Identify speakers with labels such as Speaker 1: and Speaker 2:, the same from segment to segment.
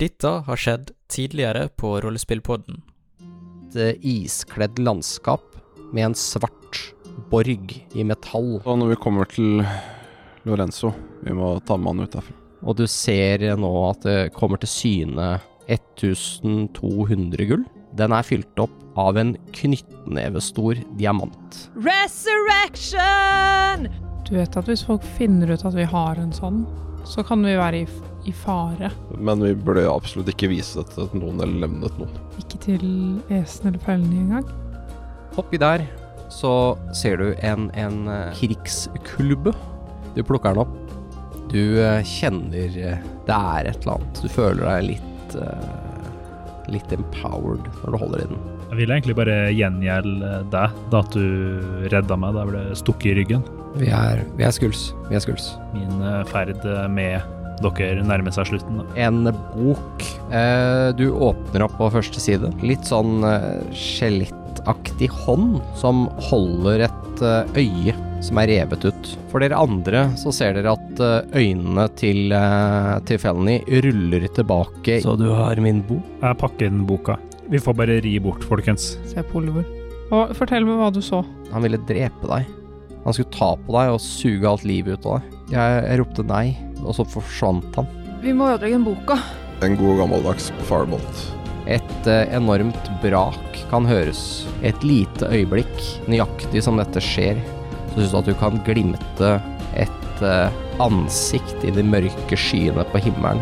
Speaker 1: Dette har skjedd tidligere på Rollespillpodden.
Speaker 2: et eh, iskledd landskap med en svart borg i metall.
Speaker 3: Og når vi kommer til Lorenzo, vi må ta med han ut derfra.
Speaker 2: Og du ser eh, nå at det kommer til syne 1200 gull. Den er fylt opp av en knyttnevestor diamant.
Speaker 4: Resurrection!
Speaker 5: Du vet at hvis folk finner ut at vi har en sånn, så kan vi være i, f- i fare.
Speaker 3: Men vi burde absolutt ikke vise dette til noen eller nevne det til noen.
Speaker 5: Ikke til esen eller fellene engang.
Speaker 2: Oppi der så ser du en, en eh, krigsklubbe. Du plukker den opp. Du eh, kjenner eh, det er et eller annet. Du føler deg litt eh, litt empowered når du holder i den.
Speaker 6: Jeg vil egentlig bare gjengjelde deg, da at du redda meg da jeg ble stukket i ryggen.
Speaker 2: Vi er, vi er skuls. Vi er skuls.
Speaker 6: Min eh, ferd med dere nærmer seg slutten. da.
Speaker 2: en bok. Eh, du åpner opp på første side. Litt sånn eh, skjelettaktig hånd som holder et eh, øye som er revet ut. For dere andre så ser dere at eh, øynene til, eh, til Felony ruller tilbake. Så du har min bok?
Speaker 6: Jeg pakker inn boka. Vi får bare ri bort, folkens.
Speaker 5: Se på Oliver. Og fortell meg hva du så.
Speaker 2: Han ville drepe deg. Han skulle ta på deg og suge alt livet ut av deg. Jeg, jeg ropte nei, og så forsvant han.
Speaker 4: Vi må ødelegge den boka.
Speaker 3: En god gammeldags firebolt.
Speaker 2: Et eh, enormt brak kan høres. Et lite øyeblikk, nøyaktig som dette skjer, så syns du at du kan glimte et eh, ansikt i de mørke skyene på himmelen.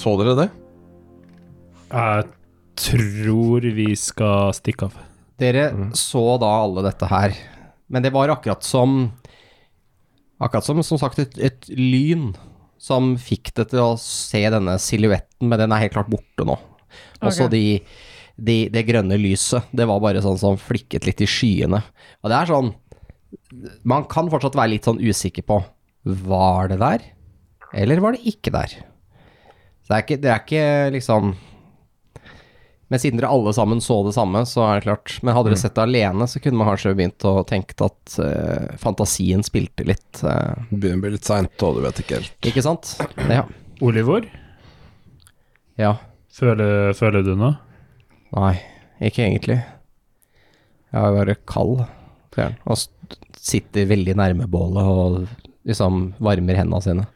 Speaker 3: Så dere det?
Speaker 6: Jeg tror vi skal stikke av.
Speaker 2: Dere
Speaker 3: Mm.
Speaker 2: så da alle dette her, men det var akkurat som Akkurat som som sagt et, et lyn som fikk det til å se denne silhuetten, men den er helt klart borte nå. Også
Speaker 5: Ok.
Speaker 2: de, de, det grønne lyset, det var bare sånn som flikket litt i skyene. Og det er sånn Man kan fortsatt være litt sånn usikker på Var det der, eller var det ikke der? Så det er ikke, det er ikke liksom men siden dere alle sammen så det samme, så er det klart. Men hadde dere sett det alene, så kunne man kanskje begynt å tenke at eh, fantasien spilte litt. eh,
Speaker 3: Begynner å bli litt seint, og du vet ikke helt.
Speaker 2: ikke sant? Ja.
Speaker 6: Olivor,
Speaker 2: ja.
Speaker 6: føler, føler du noe?
Speaker 2: Nei, ikke egentlig. Jeg er bare kald. sier han, Og s- sitter veldig nærme bålet og liksom varmer hendene sine.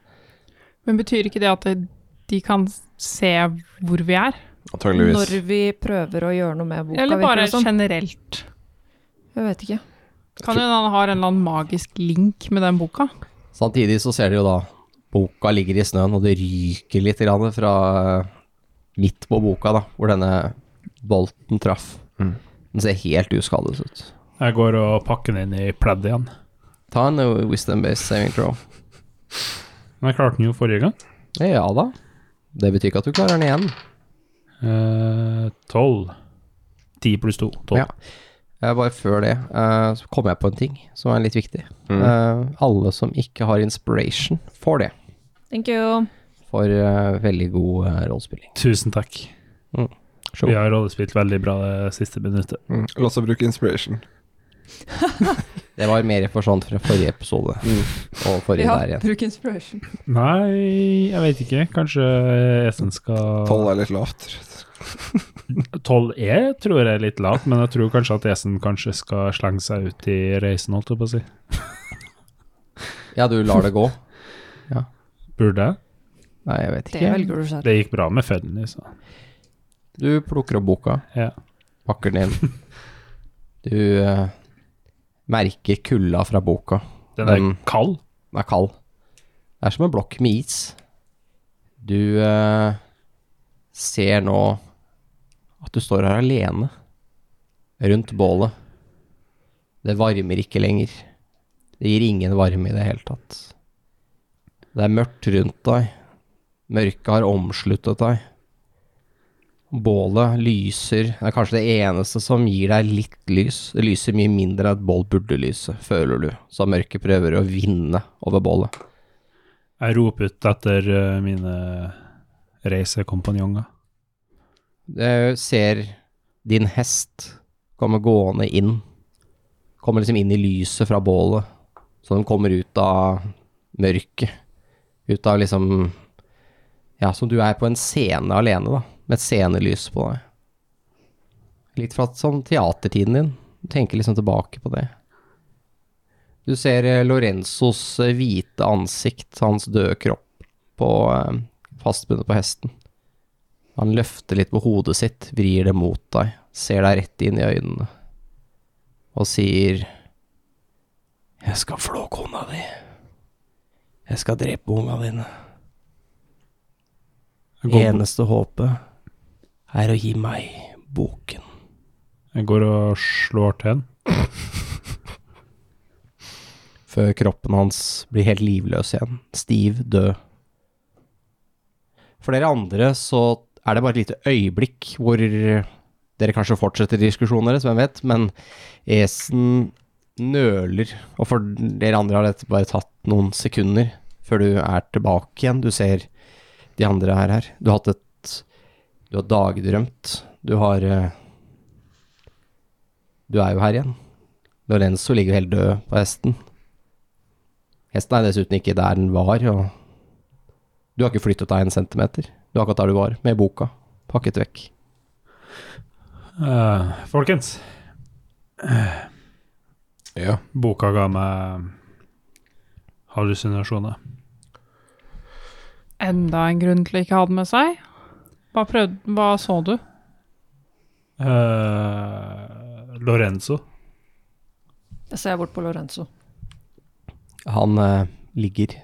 Speaker 5: Men betyr ikke det at det- de kan se hvor vi er?
Speaker 3: Antageligvis.
Speaker 4: Når vi prøver å gjøre noe med boka.
Speaker 5: Eller
Speaker 4: virker sånn.
Speaker 5: bare
Speaker 4: det som.
Speaker 5: generelt?
Speaker 4: Jeg vet ikke.
Speaker 5: Kan hende han har en eller annen magisk link med den boka?
Speaker 2: Samtidig så ser dere jo da boka ligger i snøen, og det ryker litt grann fra eh, midt på boka, da, hvor denne bolten traff.
Speaker 3: Mm.
Speaker 2: Den ser helt uskadet ut.
Speaker 6: Jeg går og pakker den inn i pleddet igjen.
Speaker 2: Ta en eh, wisdom based saving throw.
Speaker 6: Men jeg klarte den jo forrige gang.
Speaker 2: Ja da. Det betyr ikke at du klarer den igjen.
Speaker 6: Eh, Tolv. Ti pluss to. Tolv.
Speaker 2: Ja. Eh, Bare før det eh, så kom jeg på en ting som er litt viktig.
Speaker 3: Mm.
Speaker 2: Eh, alle som ikke har inspiration, får det.
Speaker 4: Thank you.
Speaker 2: For eh, veldig god eh, rollespilling.
Speaker 6: Tusen takk.
Speaker 2: Mm. Sjå.
Speaker 6: Vi har rollespilt veldig bra det siste minuttet.
Speaker 3: Mm. La oss bruke inspiration.
Speaker 2: Det var mer for sånn fra forrige episode og forrige der igjen.
Speaker 4: bruk inspiration.
Speaker 6: Nei, jeg vet ikke. Kanskje Esen skal
Speaker 3: Tolv er litt lavt.
Speaker 6: Tolv er, tror jeg, litt lavt, men jeg tror kanskje at Esen kanskje skal slenge seg ut i reisen, holdt jeg på å si.
Speaker 2: Ja, du lar det gå?
Speaker 6: Burde jeg?
Speaker 2: Nei, jeg vet
Speaker 4: Det
Speaker 2: ikke.
Speaker 4: velger du selv.
Speaker 6: Det gikk bra med liksom. Fedden, så.
Speaker 2: Du plukker opp boka,
Speaker 6: Ja.
Speaker 2: pakker den inn. Du eh, merker kulda fra boka.
Speaker 6: Den er
Speaker 2: Mm.
Speaker 6: kald.
Speaker 2: Den er kald. Det er som en blokk med is. Du eh, ser nå at du står her alene rundt bålet. Det varmer ikke lenger. Det gir ingen varme i det hele tatt. Det er mørkt rundt deg. Mørket har omsluttet deg. Bålet lyser. Det er kanskje det eneste som gir deg litt lys. Det lyser mye mindre enn et bål burde lyse, føler du, så mørket prøver å vinne over bålet.
Speaker 6: Jeg roper ut etter eh, mine reisekompanjonger.
Speaker 2: Du Eh, ser din hest komme gående inn. Kommer liksom inn i lyset fra bålet. Så den kommer ut av mørket. Ut av liksom Ja, som du er på en scene alene, da. Med et scenelys på deg. Litt fra sånn teatertiden din. Du tenker liksom tilbake på det. Du ser eh, Lorenzos eh, hvite ansikt, hans døde kropp, på, eh, fastbundet på hesten. Han løfter litt på hodet sitt, vrir det mot deg, ser deg rett inn i øynene og sier Jeg skal flå kona di. Jeg skal drepe unga dine.
Speaker 6: Jeg går,
Speaker 2: Eneste håpet er å gi meg boken.
Speaker 6: jeg går og slår til den.
Speaker 2: Før kroppen hans blir helt livløs igjen. Stiv, død. For dere andre så er det bare et lite øyeblikk hvor dere kanskje fortsetter diskusjonen deres, hvem vet, men Esen nøler, og for dere andre har dette bare tatt noen sekunder før du er tilbake igjen. Du ser de andre er her. Du har hatt et Du har dagdrømt. Du har eh, Du er jo her igjen. Lorenzo ligger jo helt død på hesten. Hesten er dessuten ikke der den var, og du har ikke flyttet deg en centimeter. Du er akkurat der du var, med boka pakket vekk.
Speaker 6: Eh, folkens,
Speaker 3: Ja.
Speaker 6: boka ga meg hallusinasjoner.
Speaker 5: Enda en grunn til ikke å ha den med seg. Hva, prøvde, hva så du?
Speaker 6: Eh, Lorenzo.
Speaker 4: Da ser jeg bort på Lorenzo.
Speaker 2: Han eh, ligger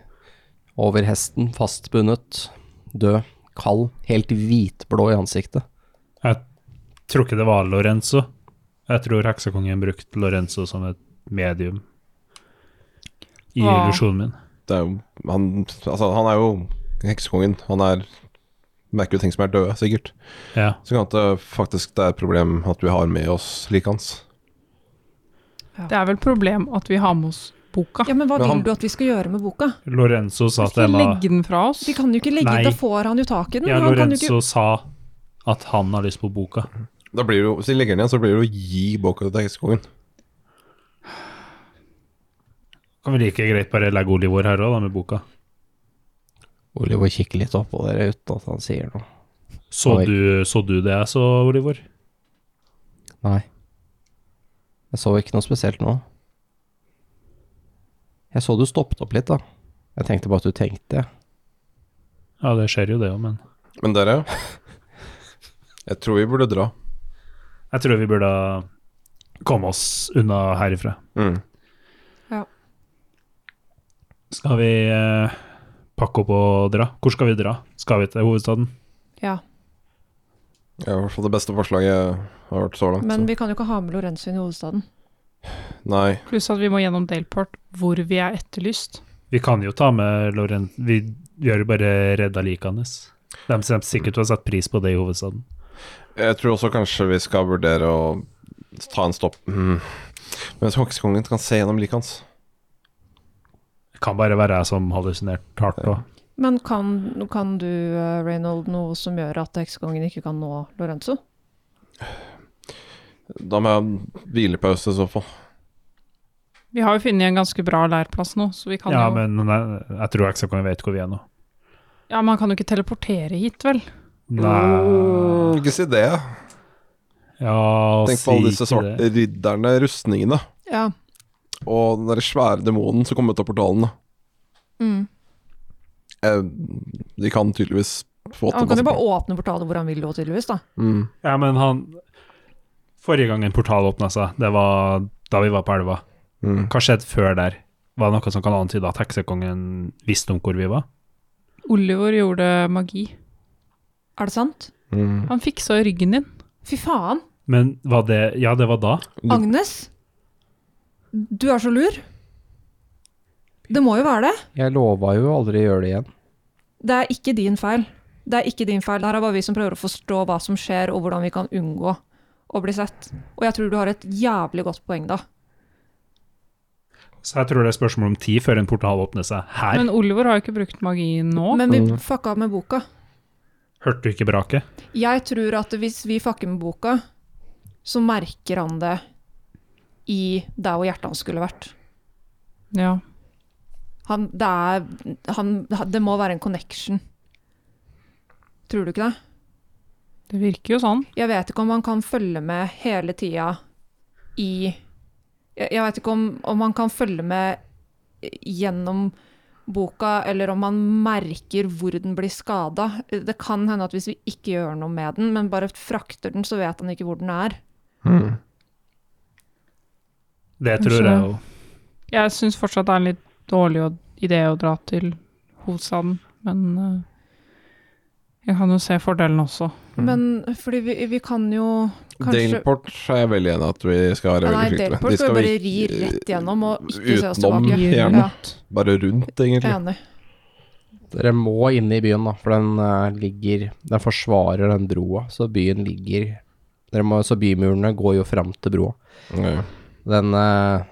Speaker 2: over hesten, fastbundet, død, kald, helt hvitblå i ansiktet.
Speaker 6: Tror ikke det var Lorenzo. Jeg tror heksekongen brukte Lorenzo som et medium i
Speaker 5: Hva?
Speaker 6: illusjonen min.
Speaker 3: Det er jo han, altså, han er jo heksekongen. Han er merker jo ting som er døde, sikkert.
Speaker 6: Ja.
Speaker 3: Så kan det faktisk det er et problem at vi har med oss liket hans.
Speaker 5: Det er vel problem at vi har med oss boka.
Speaker 4: Ja, Men hva
Speaker 3: Men han-
Speaker 4: vil du at vi skal gjøre med boka?
Speaker 6: Lorenzo sa
Speaker 5: Skal
Speaker 6: til
Speaker 5: vi
Speaker 6: Emma
Speaker 5: legge den fra oss?
Speaker 4: Vi kan jo ikke legge
Speaker 6: Nei.
Speaker 4: Da får han jo tak i den.
Speaker 6: Ja,
Speaker 4: han kan jo
Speaker 6: Lorenzo
Speaker 4: ikke
Speaker 6: sa at han har lyst på boka.
Speaker 3: Da blir det jo, hvis de legger den igjen, så blir det å gi boka til heksekongen.
Speaker 6: Kan vi like greit bare legge Olivor her òg, da, med boka?
Speaker 2: Oliver kikker litt opp på dere uten at han sier noe.
Speaker 6: Så
Speaker 2: Oi.
Speaker 6: du, så du det jeg så, Olivor?
Speaker 2: Nei. Jeg så ikke noe spesielt nå. Jeg så du stoppet opp litt, da. Jeg tenkte bare at du tenkte.
Speaker 6: Ja, det skjer jo det òg, men
Speaker 3: Men dere, jeg tror vi burde dra.
Speaker 6: jeg tror vi burde komme oss unna herifra.
Speaker 3: Mm.
Speaker 6: Skal vi eh, pakke opp og dra? Hvor skal vi dra? Skal vi til hovedstaden?
Speaker 4: Ja,
Speaker 3: Det er i hvert fall det beste forslaget har vært så langt.
Speaker 4: Men
Speaker 3: så.
Speaker 4: vi kan jo ikke ha med Lorenzo inn i hovedstaden.
Speaker 3: Nei,
Speaker 5: Pluss at vi må gjennom Daleport, hvor vi er etterlyst.
Speaker 6: Vi kan jo ta med Lorent Vi gjør jo bare redda liket hans. De kommer sikkert til å sette pris på det i hovedstaden.
Speaker 3: Jeg tror også kanskje vi skal vurdere å ta en stopp mm. Mens hoksekongen kan se gjennom liket hans.
Speaker 6: Det kan bare være jeg som hallusinerte hardt òg.
Speaker 4: Men kan, kan du, eh, Reynold, noe som gjør at heksekongen ikke kan nå Lorenzo?
Speaker 3: Da må jeg ha hvilepause i så fall.
Speaker 5: Vi har jo funnet en ganske bra leirplass nå, så vi kan
Speaker 6: Ja,
Speaker 5: jo
Speaker 6: men nei, jeg tror heksekongen vet hvor vi er nå.
Speaker 5: Ja, man kan jo ikke teleportere hit, vel?
Speaker 6: Nei
Speaker 3: Mm, Ikke si det.
Speaker 6: Ja,
Speaker 3: Tenk på alle disse svarte ridderne, rustningene
Speaker 4: Ja.
Speaker 3: og den der svære demonen som kom ut av portalene.
Speaker 4: Mm.
Speaker 3: Eh, de kan tydeligvis få til
Speaker 4: Han kan
Speaker 3: masse
Speaker 4: jo bare
Speaker 3: bra.
Speaker 4: åpne portalet hvor han vil, og tydeligvis, da.
Speaker 3: Mm.
Speaker 6: Ja, men han Forrige gang en portal åpna seg, det var da vi var på elva.
Speaker 3: Mm.
Speaker 6: Hva skjedde før der? Var det noe som kan antyde at heksekongen visste om hvor vi var?
Speaker 5: Oliver gjorde magi.
Speaker 4: Er det sant?
Speaker 3: Mm.
Speaker 5: Han fiksa jo ryggen din.
Speaker 4: Fy faen!
Speaker 6: Men var det Ja, det var da.
Speaker 3: Du-
Speaker 4: Agnes! Du er så lur. Det må jo være det.
Speaker 2: Jeg lova jo aldri å gjøre det igjen.
Speaker 4: Det er ikke din feil. Det er ikke din feil. Det her er bare vi som prøver å forstå hva som skjer, og hvordan vi kan unngå å bli sett. Og jeg tror du har et jævlig godt poeng da.
Speaker 6: Så jeg tror det er spørsmål om tid før en portal åpner seg her.
Speaker 5: Men Oliver har jo ikke brukt magi nå.
Speaker 4: Men vi fucka med boka.
Speaker 6: Hørte du ikke braket?
Speaker 4: Jeg tror at hvis vi fucker med boka, så merker han det i der hvor hjertet hans skulle vært.
Speaker 5: Ja.
Speaker 4: Han, det, er, han, det må være en connection. Tror du ikke det?
Speaker 5: Det virker jo sånn.
Speaker 4: Jeg vet ikke om han kan følge med hele tida i Jeg jeg vet ikke om, om han kan følge med gjennom boka, eller om han merker hvor den blir skada. Det kan hende at hvis vi ikke gjør noe med den, men bare frakter den, så vet han ikke hvor den er.
Speaker 6: Det tror
Speaker 5: Kanskje.
Speaker 6: jeg jo.
Speaker 5: Jeg syns fortsatt det er en litt dårlig å- idé å dra til hovedstaden, men eh, jeg kan jo se fordelen også.
Speaker 4: Men fordi vi, vi kan jo kanskje
Speaker 3: Daleport er jeg veldig enig i at vi skal være
Speaker 4: Ja, Nei,
Speaker 3: veldig flinke
Speaker 4: Delport
Speaker 3: med. De
Speaker 4: skal vi bare ri
Speaker 3: ikke-
Speaker 4: rett gjennom og ikke se oss
Speaker 3: utenom,
Speaker 4: tilbake.
Speaker 3: gjerne.
Speaker 4: Ja,
Speaker 3: Bare rundt, egentlig.
Speaker 4: enig.
Speaker 2: Dere må inn i byen, da, for den eh, ligger Den forsvarer den broa, så byen ligger dere må, Så bymurene går jo fram til broa.
Speaker 3: Ja.
Speaker 2: Den, eh,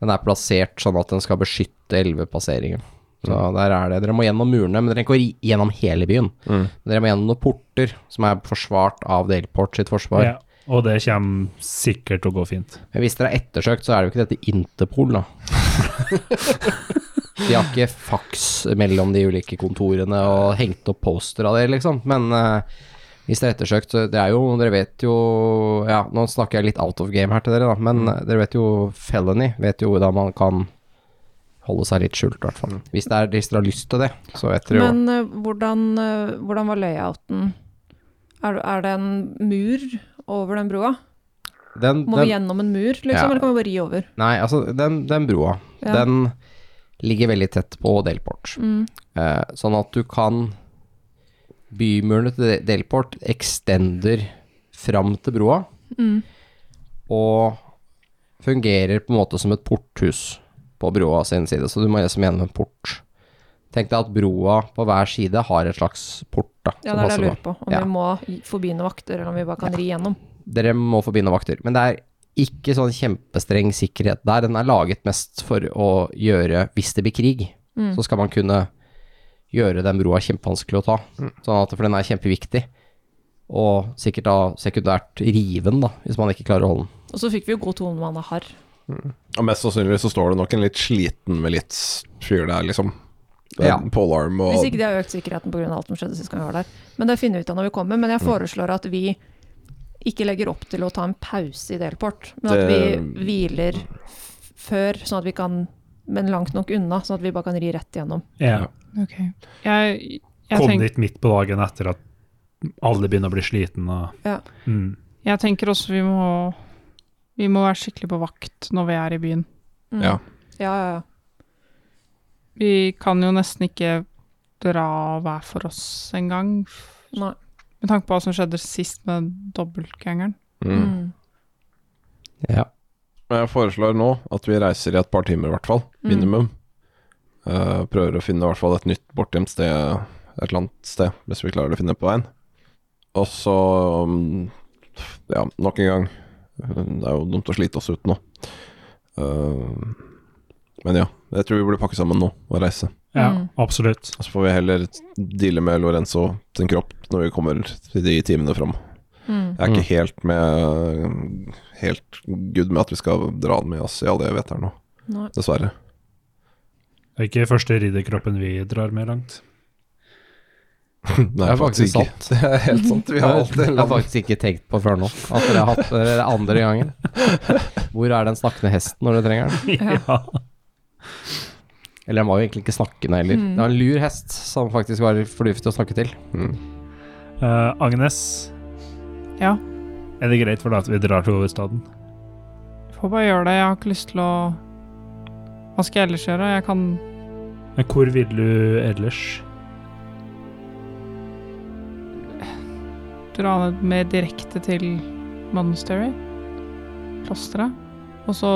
Speaker 2: den er plassert sånn at den skal beskytte elvepasseringen. Så der er det. Dere må gjennom murene, men dere går gjennom hele byen.
Speaker 3: Mm.
Speaker 2: Dere må gjennom noen porter som er forsvart av Delport sitt forsvar.
Speaker 6: Ja, og det kommer sikkert til å gå fint.
Speaker 2: Men hvis dere er ettersøkt, så er det jo ikke dette Interpol, da. de har ikke faks mellom de ulike kontorene og hengt opp poster av det, liksom. Men eh, hvis dere er ettersøkt, så det er jo Dere vet jo Ja, nå snakker jeg litt out of game her til dere, da,
Speaker 4: Mm.
Speaker 2: men eh, dere vet jo felony. Vet jo hvordan man kan holde seg litt skjult, i hvert fall. Hvis, det er- hvis dere har lyst til det, så vet dere jo
Speaker 4: Men eh, hvordan, eh, hvordan var layouten? Er, er det en mur over den broa?
Speaker 2: Den,
Speaker 4: Må vi
Speaker 2: den,
Speaker 4: gjennom en mur, liksom?
Speaker 2: Ja.
Speaker 4: Eller kan vi bare ri over?
Speaker 2: nei, altså, den, den broa,
Speaker 4: Ja.
Speaker 2: den ligger veldig tett på Delport.
Speaker 4: Mm.
Speaker 2: Eh, sånn at du kan Bymurene til Delport extender fram til broa
Speaker 4: Mm.
Speaker 2: og fungerer på en måte som et porthus på broa sin side, så du må liksom gjennom en port. Tenk deg at broa på hver side har et slags port, da. som
Speaker 4: Ja, det er det jeg
Speaker 2: passer
Speaker 4: lurer
Speaker 2: på.
Speaker 4: på. Om
Speaker 2: Ja.
Speaker 4: vi må i- forbi noen vakter, eller om vi bare kan ri gjennom.
Speaker 2: Dere må forbi noen vakter. Men det er ikke sånn kjempestreng sikkerhet der. Den er laget mest for å gjøre hvis det blir krig. Så skal man kunne gjøre den broa kjempevanskelig å ta. Sånn at, for den er kjempeviktig. Og sikkert da sekundært riven, da, hvis man ikke klarer å holde den.
Speaker 4: Og så fikk vi jo god tone med Anna Harr.
Speaker 3: Og mest sannsynlig så står det nok en litt sliten militsfyr der, liksom.
Speaker 2: Ja.
Speaker 3: Ja. Polearm og
Speaker 4: Hvis ikke de har økt sikkerheten pga. alt som skjedde sist gang vi var der. Men det finner vi ut av når vi kommer. Men jeg
Speaker 2: Mm.
Speaker 4: foreslår at vi ikke legger opp til å ta en pause i Delport, men at
Speaker 3: Det-
Speaker 4: vi hviler f før, sånn at vi kan Men langt nok unna, sånn at vi bare kan ri rett gjennom.
Speaker 6: Ja.
Speaker 5: Ok. Jeg, jeg,
Speaker 6: Kom
Speaker 5: tenk,
Speaker 6: dit midt på dagen etter at alle begynner å bli sliten og
Speaker 4: Ja.
Speaker 6: mm.
Speaker 5: jeg tenker også vi må, vi må være skikkelig på vakt når vi er i byen.
Speaker 4: Mm.
Speaker 3: Ja.
Speaker 4: ja, ja, ja.
Speaker 5: Vi kan jo nesten ikke dra hver for oss engang,
Speaker 4: Nei.
Speaker 5: med tanke på hva som skjedde sist med dobbeltgangeren.
Speaker 3: mm.
Speaker 4: Mm.
Speaker 2: Ja.
Speaker 3: Men Jeg foreslår nå at vi reiser i et par timer, i hvert fall.
Speaker 4: Mm.
Speaker 3: Minimum. Eh, prøver å finne i hvert fall et nytt bortgjemt sted, et eller annet sted, hvis vi klarer å finne det på veien. Og så mm, Ja, nok en gang. Det er jo dumt å slite oss ut nå. Eh, men ja, jeg tror vi burde pakke sammen nå og reise.
Speaker 6: Ja,
Speaker 4: Mm.
Speaker 6: absolutt.
Speaker 3: Og så får vi heller deale med Lorenzo sin kropp når vi kommer til de timene fram.
Speaker 4: Mm.
Speaker 3: Jeg er ikke helt med Helt good med at vi skal dra den med oss i alle jeg vet her nå,
Speaker 4: Nei.
Speaker 3: dessverre.
Speaker 6: Det er ikke første ridderkroppen vi drar med langt.
Speaker 3: Nei,
Speaker 2: Det er faktisk sant.
Speaker 3: Det er helt sant. Vi har alltid
Speaker 2: Jeg har faktisk ikke tenkt på før nå at dere har hatt det andre gangen. Hvor er den snakkende hesten når du trenger den?
Speaker 4: Ja.
Speaker 2: Eller den var jo egentlig ikke snakkende heller. Det var en lur hest som faktisk var fornuftig å snakke til.
Speaker 3: Mm.
Speaker 6: Eh, Agnes,
Speaker 5: Ja,
Speaker 6: er det greit for deg at vi drar til hovedstaden?
Speaker 5: får bare gjøre det. Jeg har ikke lyst til å Hva skal jeg ellers gjøre? Jeg kan
Speaker 6: Men hvor vil du ellers?
Speaker 5: dra ned mer direkte til Monastery, klosteret. Og så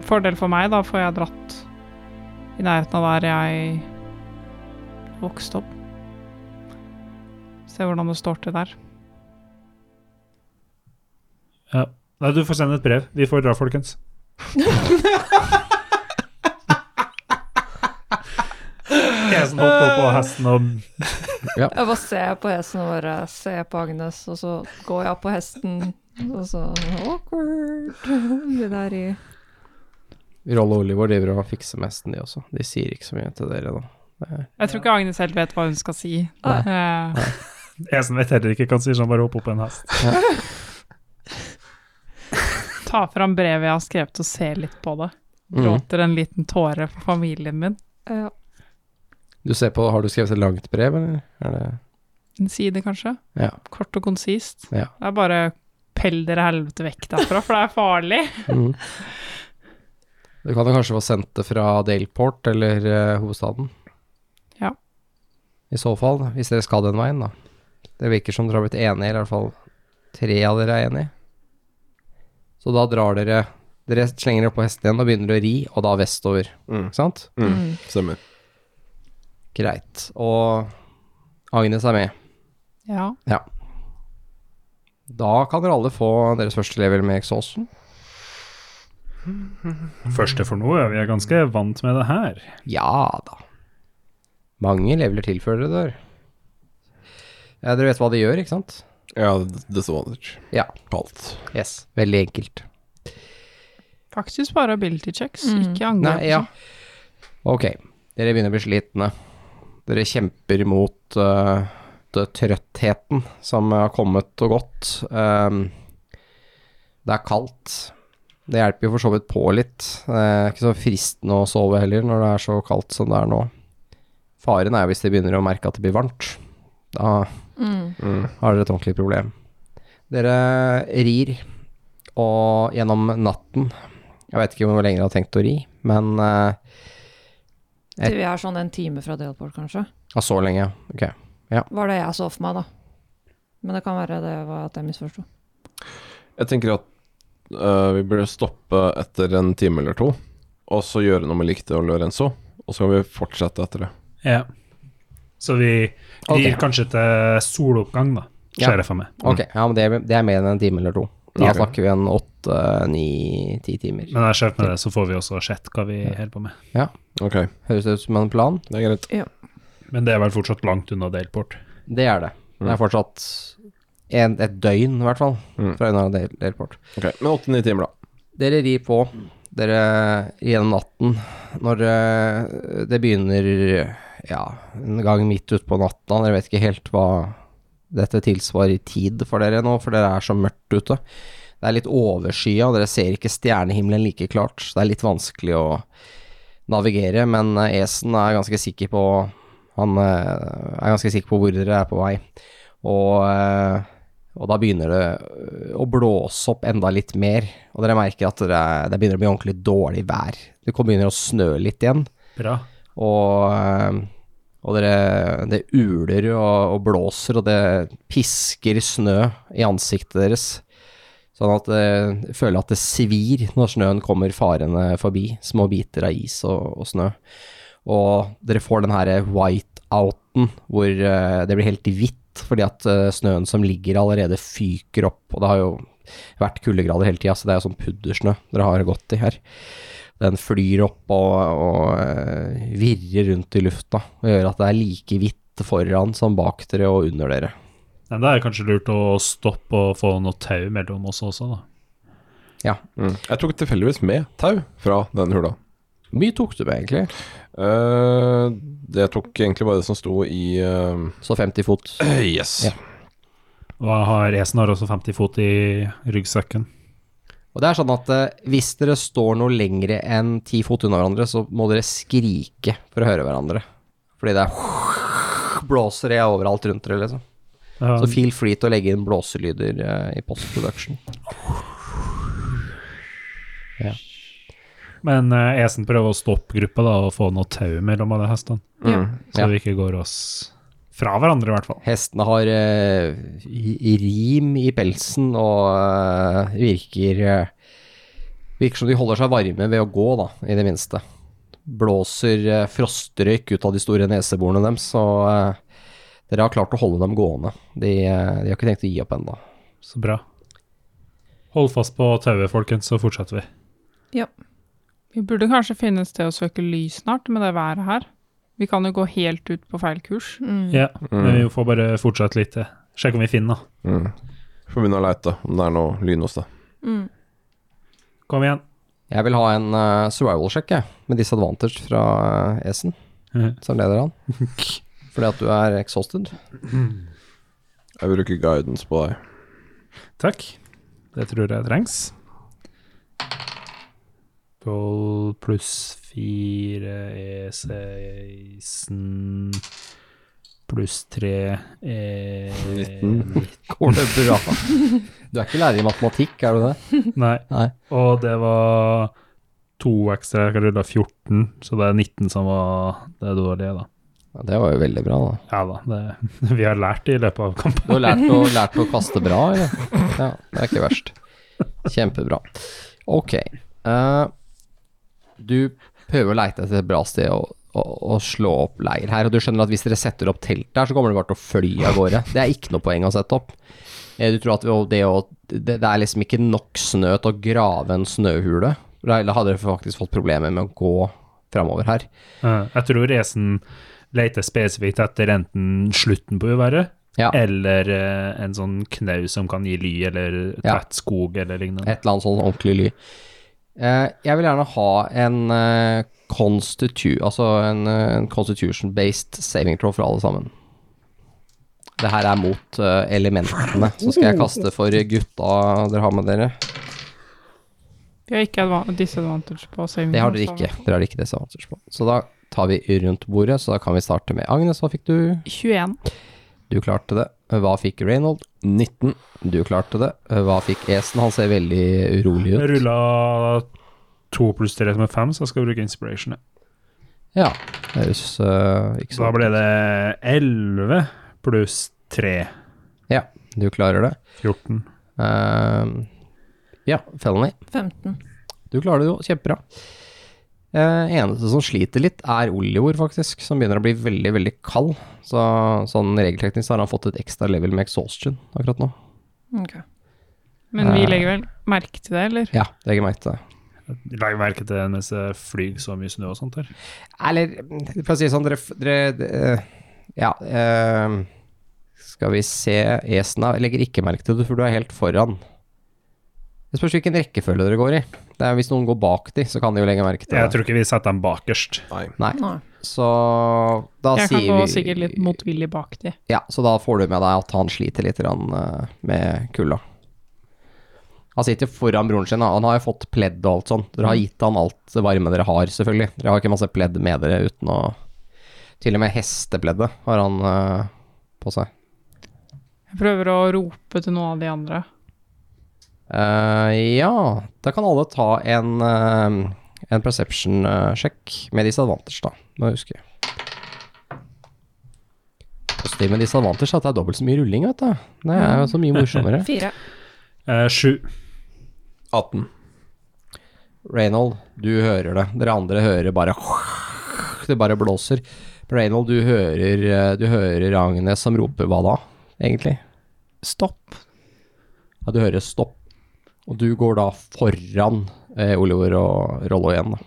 Speaker 5: Fordel for meg, da får jeg dratt i nærheten av der jeg vokste opp. Se hvordan det står til der.
Speaker 6: Nei, du får sende et brev. Vi får dra, folkens. Jeg som holdt på på hesten og
Speaker 4: Jeg bare ser på hesten og bare ser på Agnes, og så går jeg opp på hesten, og så awkward. Vi der i
Speaker 2: Roll og Oliver driver og fikser med hesten, de også. De sier ikke så mye til dere nå.
Speaker 5: Jeg tror ikke Agnes helt vet hva hun skal si.
Speaker 2: Nei.
Speaker 5: Eh,
Speaker 6: Jeg som vet heller ikke kan si sånn, bare hopp opp på en hest.
Speaker 5: ta fram brevet jeg har skrevet og se litt på det.
Speaker 2: Mm.
Speaker 5: Gråter en liten tåre for familien min.
Speaker 4: Ja.
Speaker 2: Du ser på, har du skrevet et langt brev, eller? Er det
Speaker 5: En side, kanskje.
Speaker 2: Ja.
Speaker 5: Kort og konsist.
Speaker 2: Ja.
Speaker 5: Det er bare pell dere helvete vekk derfra, for det er farlig.
Speaker 2: Mhm. Du kan jo kanskje få sendt det fra Daleport eller eh, hovedstaden.
Speaker 5: Ja.
Speaker 2: I så fall, hvis dere skal den veien, da. Det virker som dere har blitt enige, eller i hvert fall tre av dere er enige. Så da drar dere Dere slenger dere på hesten igjen og begynner å ri, og da vestover,
Speaker 3: Mm.
Speaker 2: ikke sant?
Speaker 3: Mm. Stemmer.
Speaker 2: Greit. Og Agnes er med.
Speaker 5: Ja.
Speaker 2: Da kan dere alle få deres første level med eksosen.
Speaker 6: Første for noe, vi er ganske vant med det her.
Speaker 2: Ja da. Mange leveler til før dere dør. Ja, dere vet hå de gjør, ikke sant?
Speaker 3: Ja, det, det står anders.
Speaker 2: Ja.
Speaker 3: Kaldt.
Speaker 2: Yes. Veldig enkelt.
Speaker 5: Faktisk bare ability checks,
Speaker 4: Mm.
Speaker 5: ikke
Speaker 2: Nei, ja.
Speaker 5: angrep. liksom.
Speaker 2: Ok, dere begynner å bli slitne. Dere kjemper mot eh, det trøttheten som har kommet og gått. Ehm, det er kaldt. Det hjelper jo for så vidt på litt. Det er ikke så fristende å sove heller når det er så kaldt som det er nå. Faren er jo hvis de begynner å merke at det blir varmt. Da
Speaker 4: Mm.
Speaker 2: har dere et ordentlig problem. Dere rir og gjennom natten. Jeg vet ikke hvor lenge dere har tenkt å ri, men eh,
Speaker 4: Til vi er sånn en time fra Delport, kanskje.
Speaker 2: ja, så lenge. Ok.
Speaker 4: Var det jeg så for meg, da. Men det kan være det var at jeg misforsto.
Speaker 3: Jeg tenker at øh, vi burde stoppe etter en time eller to, og så gjøre noe med Likte og Lorenzo, og så kan vi fortsette etter det.
Speaker 6: Ja. Så vi
Speaker 2: Ok.
Speaker 6: rir kanskje til soloppgang, da.
Speaker 2: Ja.
Speaker 6: Ser jeg for meg.
Speaker 2: Ok, ja, men det, det er mer enn en time eller to. Da
Speaker 6: Ja.
Speaker 2: snakker vi en åtte, ni, ti timer.
Speaker 6: Men jeg ser for meg det, så får vi også sett hva vi holder på med.
Speaker 3: Ok,
Speaker 2: Høres det ut som en plan?
Speaker 3: det er greit.
Speaker 6: Men det er vel fortsatt langt unna Delport.
Speaker 2: Det er det. Det
Speaker 3: Mm.
Speaker 2: er fortsatt en, et døgn, i hvert fall,
Speaker 3: Mm.
Speaker 2: fra Unna Del- Delport.
Speaker 3: Ok, Men åtte-ni timer, da.
Speaker 2: Dere rir på, dere gjennom natten, når eh, det begynner ja, en gang midt utpå natta, dere vet ikke helt hva dette tilsvarer i tid for dere nå, for dere er så mørkt ute. Det er litt overskya, og dere ser ikke stjernehimmelen like klart, så det er litt vanskelig å navigere, men eh, Esen er ganske sikker på han eh, er ganske sikker på hvor dere er på vei, og, eh, og da begynner det eh, å blåse opp enda litt mer, og dere merker at dere, det begynner å bli ordentlig dårlig vær. Det kommer- begynner å snø litt igjen,
Speaker 6: Bra.
Speaker 2: og, eh, og dere, det uler og, og blåser, og det pisker snø i ansiktet deres. Sånn at eh, jeg føler at det svir når snøen kommer farende forbi, små biter av is og, og snø. Og dere får den her white-outen, hvor eh, det blir helt hvitt fordi at eh, snøen som ligger allerede fyker opp, og det har jo vært kuldegrader hele tida, så det er jo sånn puddersnø dere har gått i her. Den flyr opp og, og eh, virrer rundt i lufta, og gjør at det er like hvitt foran som bak dere og under dere.
Speaker 6: Men det er kanskje lurt å stoppe og få noe tau mellom oss også, da.
Speaker 3: Mm. Jeg tok tilfeldigvis med tau fra den hula.
Speaker 2: Hvor mye tok du med, egentlig?
Speaker 3: Eh, det tok egentlig bare det som sto i eh,
Speaker 2: Så 50 fot.
Speaker 3: Yes.
Speaker 2: Ja.
Speaker 6: Og jeg har, Esen har også 50 fot i ryggsekken.
Speaker 2: Og det er sånn at eh, hvis dere står noe lengre enn ti fot unna hverandre, så må dere skrike for å høre hverandre. Fordi det er blåser jeg overalt rundt dere, liksom.
Speaker 6: Ja,
Speaker 2: Så feel free til å legge inn blåselyder eh, i postproduction.
Speaker 6: men eh, Esen prøver å stoppe gruppa da, og få noe tau mellom alle hestene.
Speaker 3: Mm.
Speaker 6: Så
Speaker 2: Ja.
Speaker 6: vi ikke går oss fra hverandre, i hvert fall.
Speaker 2: Hestene har eh, i- i rim i pelsen og eh, virker eh, Virker som de holder seg varme ved å gå, da, i det minste. Blåser eh, frostrøyk ut av de store neseborene deres, så eh, dere har klart å holde dem gående. De, eh, de har ikke tenkt å gi opp ennå.
Speaker 6: Så bra. Hold fast på tauet, folkens, så fortsetter vi.
Speaker 5: Vi burde kanskje finne et sted å søke ly snart, med det været her. Vi kan jo gå helt ut på feil kurs.
Speaker 4: Mm.
Speaker 6: Ja,
Speaker 3: Mm.
Speaker 6: men vi får bare fortsette litt til. Sjekk om vi finner den.
Speaker 3: Mm. Får begynne å leite om det er noe lyn hos deg.
Speaker 4: Mm.
Speaker 6: Kom igjen.
Speaker 2: Jeg vil ha en eh, survival check, jeg, med disadvantage fra eh, Esen,
Speaker 6: Mhm.
Speaker 2: som leder han. Fordi at du er exhausted.
Speaker 3: Jeg bruker guidance på deg.
Speaker 6: Takk. Det tror jeg trengs. 12 pluss 4 er 16 pluss 3 E er 19.
Speaker 2: Går det bra? Du er ikke lærer i matematikk, er du det?
Speaker 6: Nei.
Speaker 2: Nei.
Speaker 6: Og det var to ekstra. Jeg rulla 14, så det er 19 som var det dårlige, da.
Speaker 2: Ja, det var jo veldig bra, da.
Speaker 6: Ja da, det, vi har lært det i løpet av kampen.
Speaker 2: Du har lært å, lært å kaste bra, eller? Ja, det er ikke verst. Kjempebra. Ok. eh, du prøver å leite etter et bra sted å, å, å slå opp leir her, og du skjønner at hvis dere setter opp telt der, så kommer det bare til å fly av gårde. Det er ikke noe poeng å sette opp. Eh, Du tror at å- det, å, det, det er liksom ikke nok snø til å grave en snøhule. Da da hadde dere faktisk fått problemer med å gå framover her.
Speaker 6: Eh, Jeg tror Esen leter spesifikt etter enten slutten på uværet,
Speaker 2: Ja, et
Speaker 6: eller eh, en sånn knaus som kan gi ly, eller
Speaker 2: Ja.
Speaker 6: tett skog, eller lignende.
Speaker 2: eller annet sånn ordentlig ly. Eh, jeg vil gjerne ha en eh, constitu, altså en, eh, en constitution-based saving throw for alle sammen. Det her er mot eh, elementene, så skal jeg kaste for gutta dere har med dere.
Speaker 5: Vi har ikke adva- disadvantage på saving.
Speaker 2: Det har dere
Speaker 5: throws, da.
Speaker 2: ikke. Dere har ikke disadvantage på. Så da tar vi rundt bordet, så da kan vi starte med Agnes. Hva fikk du?
Speaker 5: 21.
Speaker 2: Du klarte det. Hva fikk Reynold?
Speaker 3: 19.
Speaker 2: Du klarte det. Hva fikk Esen? Han ser veldig urolig
Speaker 6: Jeg
Speaker 2: ut.
Speaker 6: rulla to pluss tre som er fem, så jeg skal bruke inspiration. jeg.
Speaker 2: Ja, det høres eh, ikke
Speaker 6: Da
Speaker 2: så
Speaker 6: ble det elleve pluss tre.
Speaker 2: Ja, du klarer det.
Speaker 6: 14.
Speaker 2: Ehm, ja, Felony.
Speaker 4: 15.
Speaker 2: Du klarer det jo kjempebra. Eh, eneste som sliter litt, er Oljord, faktisk, som begynner å bli veldig, veldig kald. Så sånn regelteknisk så har han fått et ekstra level med exhaustion akkurat nå.
Speaker 4: Ok.
Speaker 5: Men vi
Speaker 2: Eh.
Speaker 5: legger vel merke til det, eller?
Speaker 2: Ja, det legger jeg merke til.
Speaker 6: Legg merke til den mens det flyr så mye snø og sånt her.
Speaker 2: Eller, mm, for å si det sånn, dere, f- dere d- Ja. ehm, skal vi se Esna legger ikke merke til det, for du er helt foran. Det spørs hvilken rekkefølge dere går i. Det er, hvis noen går bak de, så kan de jo legge merke til
Speaker 6: Jeg
Speaker 2: det.
Speaker 6: tror ikke vi setter dem bakerst.
Speaker 3: Nei.
Speaker 2: Nei.
Speaker 4: Nei.
Speaker 2: Så da
Speaker 5: Jeg kan
Speaker 2: sier
Speaker 5: gå
Speaker 2: vi
Speaker 5: sikkert litt motvillig bak de.
Speaker 2: Ja, så da får du med deg at han sliter litt grann, eh, med kulda. Han sitter foran broren sin, da. han har jo fått pledd og alt sånn. Dere har
Speaker 5: Mm.
Speaker 2: gitt han alt det varme dere har, selvfølgelig. Dere har ikke masse pledd med dere uten å Til og med hestepleddet har han eh, på seg.
Speaker 5: Jeg prøver å rope til noen av de andre.
Speaker 2: Eh, ja, da kan alle ta en, eh, en perception-sjekk med disadvantage, da. Må jeg huske. Positiv med disadvantage er at det er dobbelt så mye rulling, vet du. Det er jo så mye morsommere.
Speaker 4: Fire.
Speaker 6: Eh, sju.
Speaker 3: 18.
Speaker 2: Reynold, du hører det. Dere andre hører bare Det bare blåser. Reynold, du hører, eh, du hører Agnes som roper hva da, egentlig?
Speaker 5: Stopp.
Speaker 2: Ja, du hører stopp. Og du går da foran eh, Oliver og Rollo igjen, da.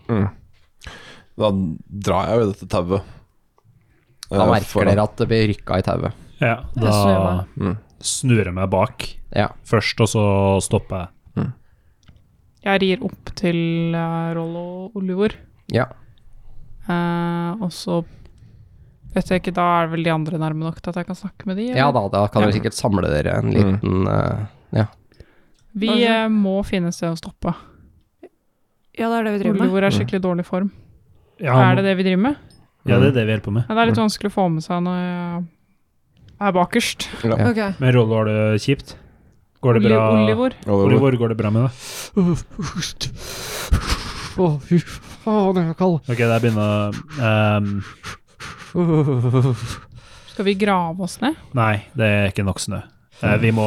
Speaker 3: Da drar jeg jo i dette tauet. Eh,
Speaker 2: Da merker dere at det blir rykka i tauet.
Speaker 6: Ja,
Speaker 4: Jeg snur
Speaker 6: da
Speaker 4: meg.
Speaker 3: Mm.
Speaker 6: snur jeg meg bak
Speaker 2: Ja.
Speaker 6: først, og så stopper jeg.
Speaker 5: Jeg rir opp til eh, Rollo og Olivor.
Speaker 2: ja.
Speaker 5: Eh, og så vet jeg ikke, da er vel de andre nærme nok til at jeg kan snakke med de? eller?
Speaker 2: Ja da, da kan dere sikkert samle dere en liten eh, Ja.
Speaker 5: Vi eh, må finne et sted å stoppe.
Speaker 4: Ja, det er det vi driver med.
Speaker 5: Olivor er skikkelig i dårlig form.
Speaker 6: Ja,
Speaker 5: Er det det vi driver med?
Speaker 6: ja, det er det vi holder på med.
Speaker 5: Ja, det er litt vanskelig å få med seg når jeg er bakerst.
Speaker 2: Ja.
Speaker 4: Ok.
Speaker 6: Men Rollo, har det kjipt? Går det
Speaker 5: Oli-
Speaker 6: bra?
Speaker 5: Olivor.
Speaker 3: Oliver.
Speaker 6: Olivor, går det bra med deg?
Speaker 2: Å, fy faen, jeg er kald.
Speaker 6: Ok, der begynner ehm,
Speaker 5: Skal vi grave oss ned?
Speaker 6: Nei, det er ikke nok snø. Eh, vi, må,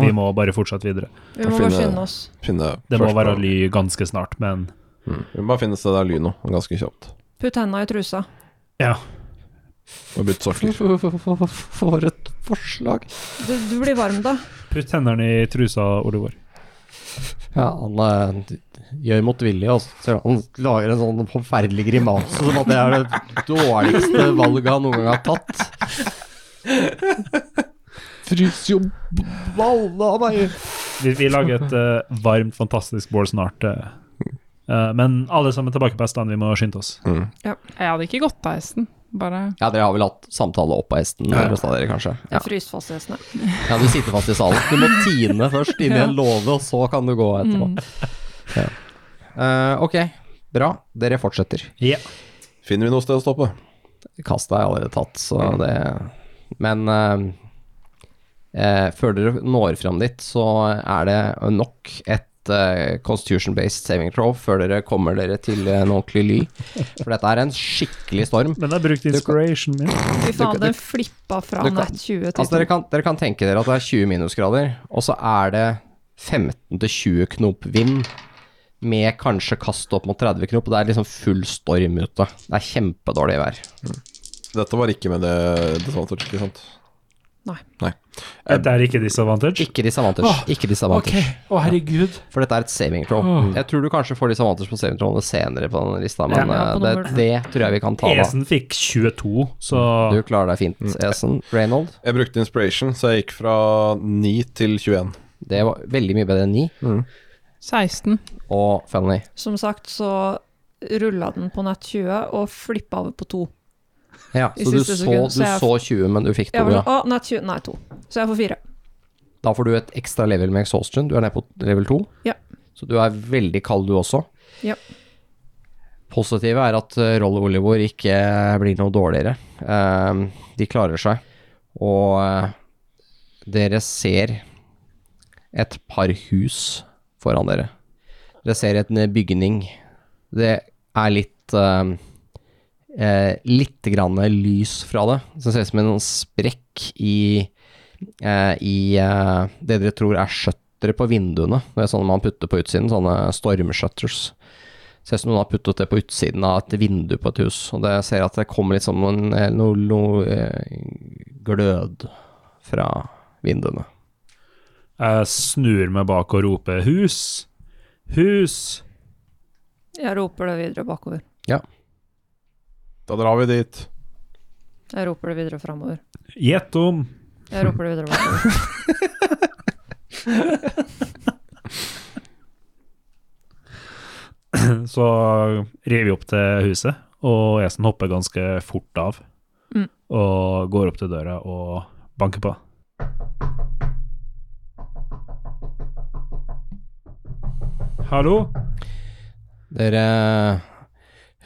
Speaker 6: vi må bare fortsette videre.
Speaker 4: Vi må
Speaker 3: Finne-
Speaker 4: bare skynde oss.
Speaker 3: Finne
Speaker 6: Det må
Speaker 3: først
Speaker 6: være
Speaker 3: på-
Speaker 6: ly ganske snart, men
Speaker 3: Mm. Vi må bare finne et sted det er ly nå, ganske kjapt.
Speaker 4: Putt henda i trusa.
Speaker 6: ja.
Speaker 3: Og bytte sokker.
Speaker 2: For et forslag.
Speaker 4: Du, du blir varm, da.
Speaker 6: Putt hendene i trusa, Olivor.
Speaker 2: Ja, han eh, gjør mot vilje, og så han lager en sånn forferdelig grimase som at det er det dårligste valget han noen gang har tatt. Frys jo balla av meg!
Speaker 6: Vi, vi lager et eh, varmt, fantastisk bål snart. eh. Eh, men alle sammen tilbake på hestene, vi må skynde oss.
Speaker 3: Mm.
Speaker 5: Jeg hadde ikke gått av hesten. Bare
Speaker 2: Ja, dere har vel hatt samtale opp av hesten,
Speaker 6: Ja.
Speaker 2: ja. av dere kanskje?
Speaker 4: Jeg fryser fast i hestene.
Speaker 2: Ja, du sitter fast i salen. Du må tine først inn i en låve, og så kan du gå etterpå. Ja. Eh, ok, bra. Dere fortsetter.
Speaker 6: Ja.
Speaker 3: Finner vi noe sted å stoppe?
Speaker 2: Kasta er allerede tatt, så det Men eh, eh, før dere når fram dit, så er det nok et eh, Constitution-based saving throw før dere kommer dere til eh, en ordentlig ly. For dette er en skikkelig storm.
Speaker 6: Men jeg brukte inspiration min.
Speaker 4: Fy faen,
Speaker 2: du-
Speaker 4: den flippa fra
Speaker 2: du kan-
Speaker 4: nett 20 til
Speaker 2: Altså, dere kan, dere kan tenke dere at det er 20 minusgrader, og så er det 15-20 knop vind med kanskje kast opp mot 30 knop, og det er liksom full storm ute. Det er kjempedårlig vær.
Speaker 3: Dette var ikke med det disadvantage, ikke sant?
Speaker 4: Nei.
Speaker 6: Dette Eh, er ikke disadvantage.
Speaker 2: Ikke disadvantage. Ikke disadvantage.
Speaker 6: Å, herregud.
Speaker 2: For dette er et saving throw. Mm. Jeg tror du kanskje får disadvantage på saving throwene senere på den lista, men
Speaker 5: Ja,
Speaker 2: eh,
Speaker 5: på
Speaker 2: det,
Speaker 5: nummer.
Speaker 2: det tror jeg vi kan ta da.
Speaker 6: Esen fikk 22, så
Speaker 2: Du klarer deg fint, Esen. Reynold,
Speaker 3: Jeg brukte inspiration, så jeg gikk fra 9 til 21.
Speaker 2: det var veldig mye bedre enn 9.
Speaker 5: 16.
Speaker 2: Og Fanny,
Speaker 4: Som sagt så rulla den på nett 20 og flippa over på 2.
Speaker 2: ja,
Speaker 4: I
Speaker 2: så du
Speaker 4: siste
Speaker 2: så,
Speaker 4: sekund,
Speaker 2: du
Speaker 4: så jeg-
Speaker 2: så 20, men du fikk
Speaker 4: Jeg
Speaker 2: 2,
Speaker 4: var
Speaker 2: ja.
Speaker 4: sånn, å, nett 20, nei 2. Så jeg får 4.
Speaker 2: Da får du et ekstra level med exhaustion. Du er nede på level 2.
Speaker 4: Ja.
Speaker 2: Så du er veldig kald du også.
Speaker 4: Ja.
Speaker 2: Positivet er at eh, Rolly Olivor ikke eh, blir noe dårligere. Ehm, De klarer seg. Og eh, dere ser et par hus foran dere. Dere ser et en eh, bygning. Det er litt eh, eh, Litt grann lys fra det. Så det ser ut som en sånn sprekk i eh, i eh, det dere tror er skjøttere på vinduene. Det er sånne man putter på utsiden, sånne stormshutters. Ser ut som noen har puttet det på utsiden av et vindu på et hus. Og det ser at det kommer litt sånn noen, eh, noe, noe eh, glød fra vinduene.
Speaker 6: jeg snur meg bak og roper 'hus', 'hus'.
Speaker 4: Jeg roper det videre bakover.
Speaker 3: Da drar vi dit.
Speaker 4: Jeg roper det videre framover.
Speaker 6: Gjett om.
Speaker 4: Jeg roper det videre bakover.
Speaker 6: Så river vi opp til huset, og Esen hopper ganske fort av.
Speaker 4: Mm.
Speaker 6: Og går opp til døra og banker på. Hallo?
Speaker 2: Dere eh,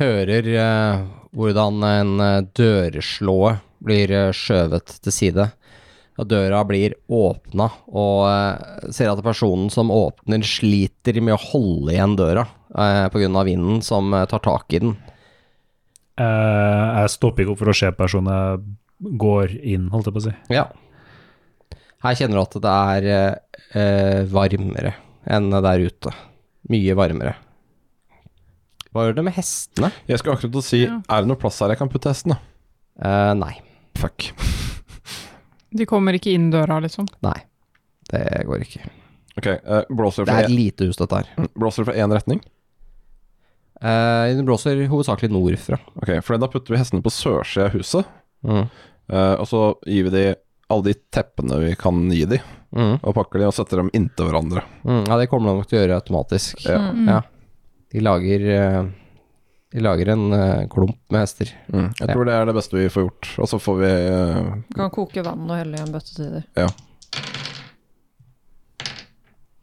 Speaker 2: hører eh, hvordan en eh, dørslåe blir eh, skjøvet til side. Og døra blir åpna, og eh, ser at personen som åpner, sliter med å holde igjen døra eh, på grunn av vinden som eh, tar tak i den.
Speaker 6: Eh, jeg stopper ikke opp for å se personen jeg går inn, holdt jeg på å si.
Speaker 2: Ja. Her kjenner du at det er eh, eh, varmere enn der ute. Mye varmere. Hva gjør det med hestene?
Speaker 3: Jeg skal akkurat til å si
Speaker 5: Ja.
Speaker 3: Er det noe plass her jeg kan putte hestene?
Speaker 2: Eh, nei.
Speaker 3: Fuck.
Speaker 5: De kommer ikke inn døra, liksom.
Speaker 2: Nei. Det går ikke.
Speaker 3: Ok, eh, blåser
Speaker 2: Det
Speaker 3: fra
Speaker 2: er et
Speaker 3: en-
Speaker 2: lite hus, dette her.
Speaker 3: blåser fra én retning?
Speaker 2: Eh, det blåser hovedsakelig nordfra.
Speaker 3: Ok, for da putter vi hestene på sørsida av huset, eh, og så gir vi de alle de teppene vi kan gi de,
Speaker 2: Mm.
Speaker 3: og pakker de og setter dem inntil hverandre.
Speaker 2: Mm. Ja, det kommer de nok til å gjøre automatisk.
Speaker 3: Ja.
Speaker 4: Mm.
Speaker 2: Ja. De lager eh, De lager en eh, klump med hester.
Speaker 3: Jeg
Speaker 2: Ja.
Speaker 3: tror det er det beste vi får gjort. Og så får vi eh,
Speaker 4: Kan koke vann og helle i en bøtte til dem.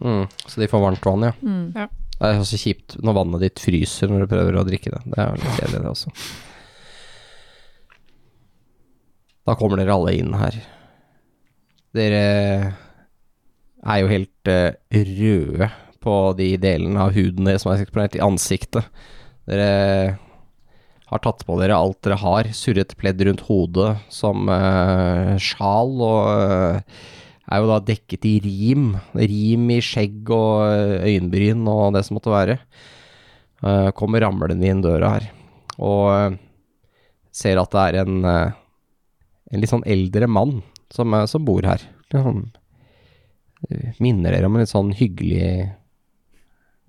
Speaker 2: Mm. Så de får varmt vann, ja.
Speaker 4: Mm.
Speaker 5: Ja.
Speaker 2: Det er også kjipt når vannet ditt fryser når du prøver å drikke det. Det er jo litt kjedelig, det også. Da kommer dere alle inn her. Dere er jo helt eh, røde på de delene av huden deres som er eksponert i ansiktet. Dere har tatt på dere alt dere har, surret pledd rundt hodet som eh, sjal, og eh, er jo da dekket i rim. Rim i skjegg og eh, øyenbryn og det som måtte være. Eh, kommer ramlende inn døra her, og eh, ser at det er en, eh, en litt sånn eldre mann som, eh, som bor her. Litt sånn, eh, minner dere om en litt sånn hyggelig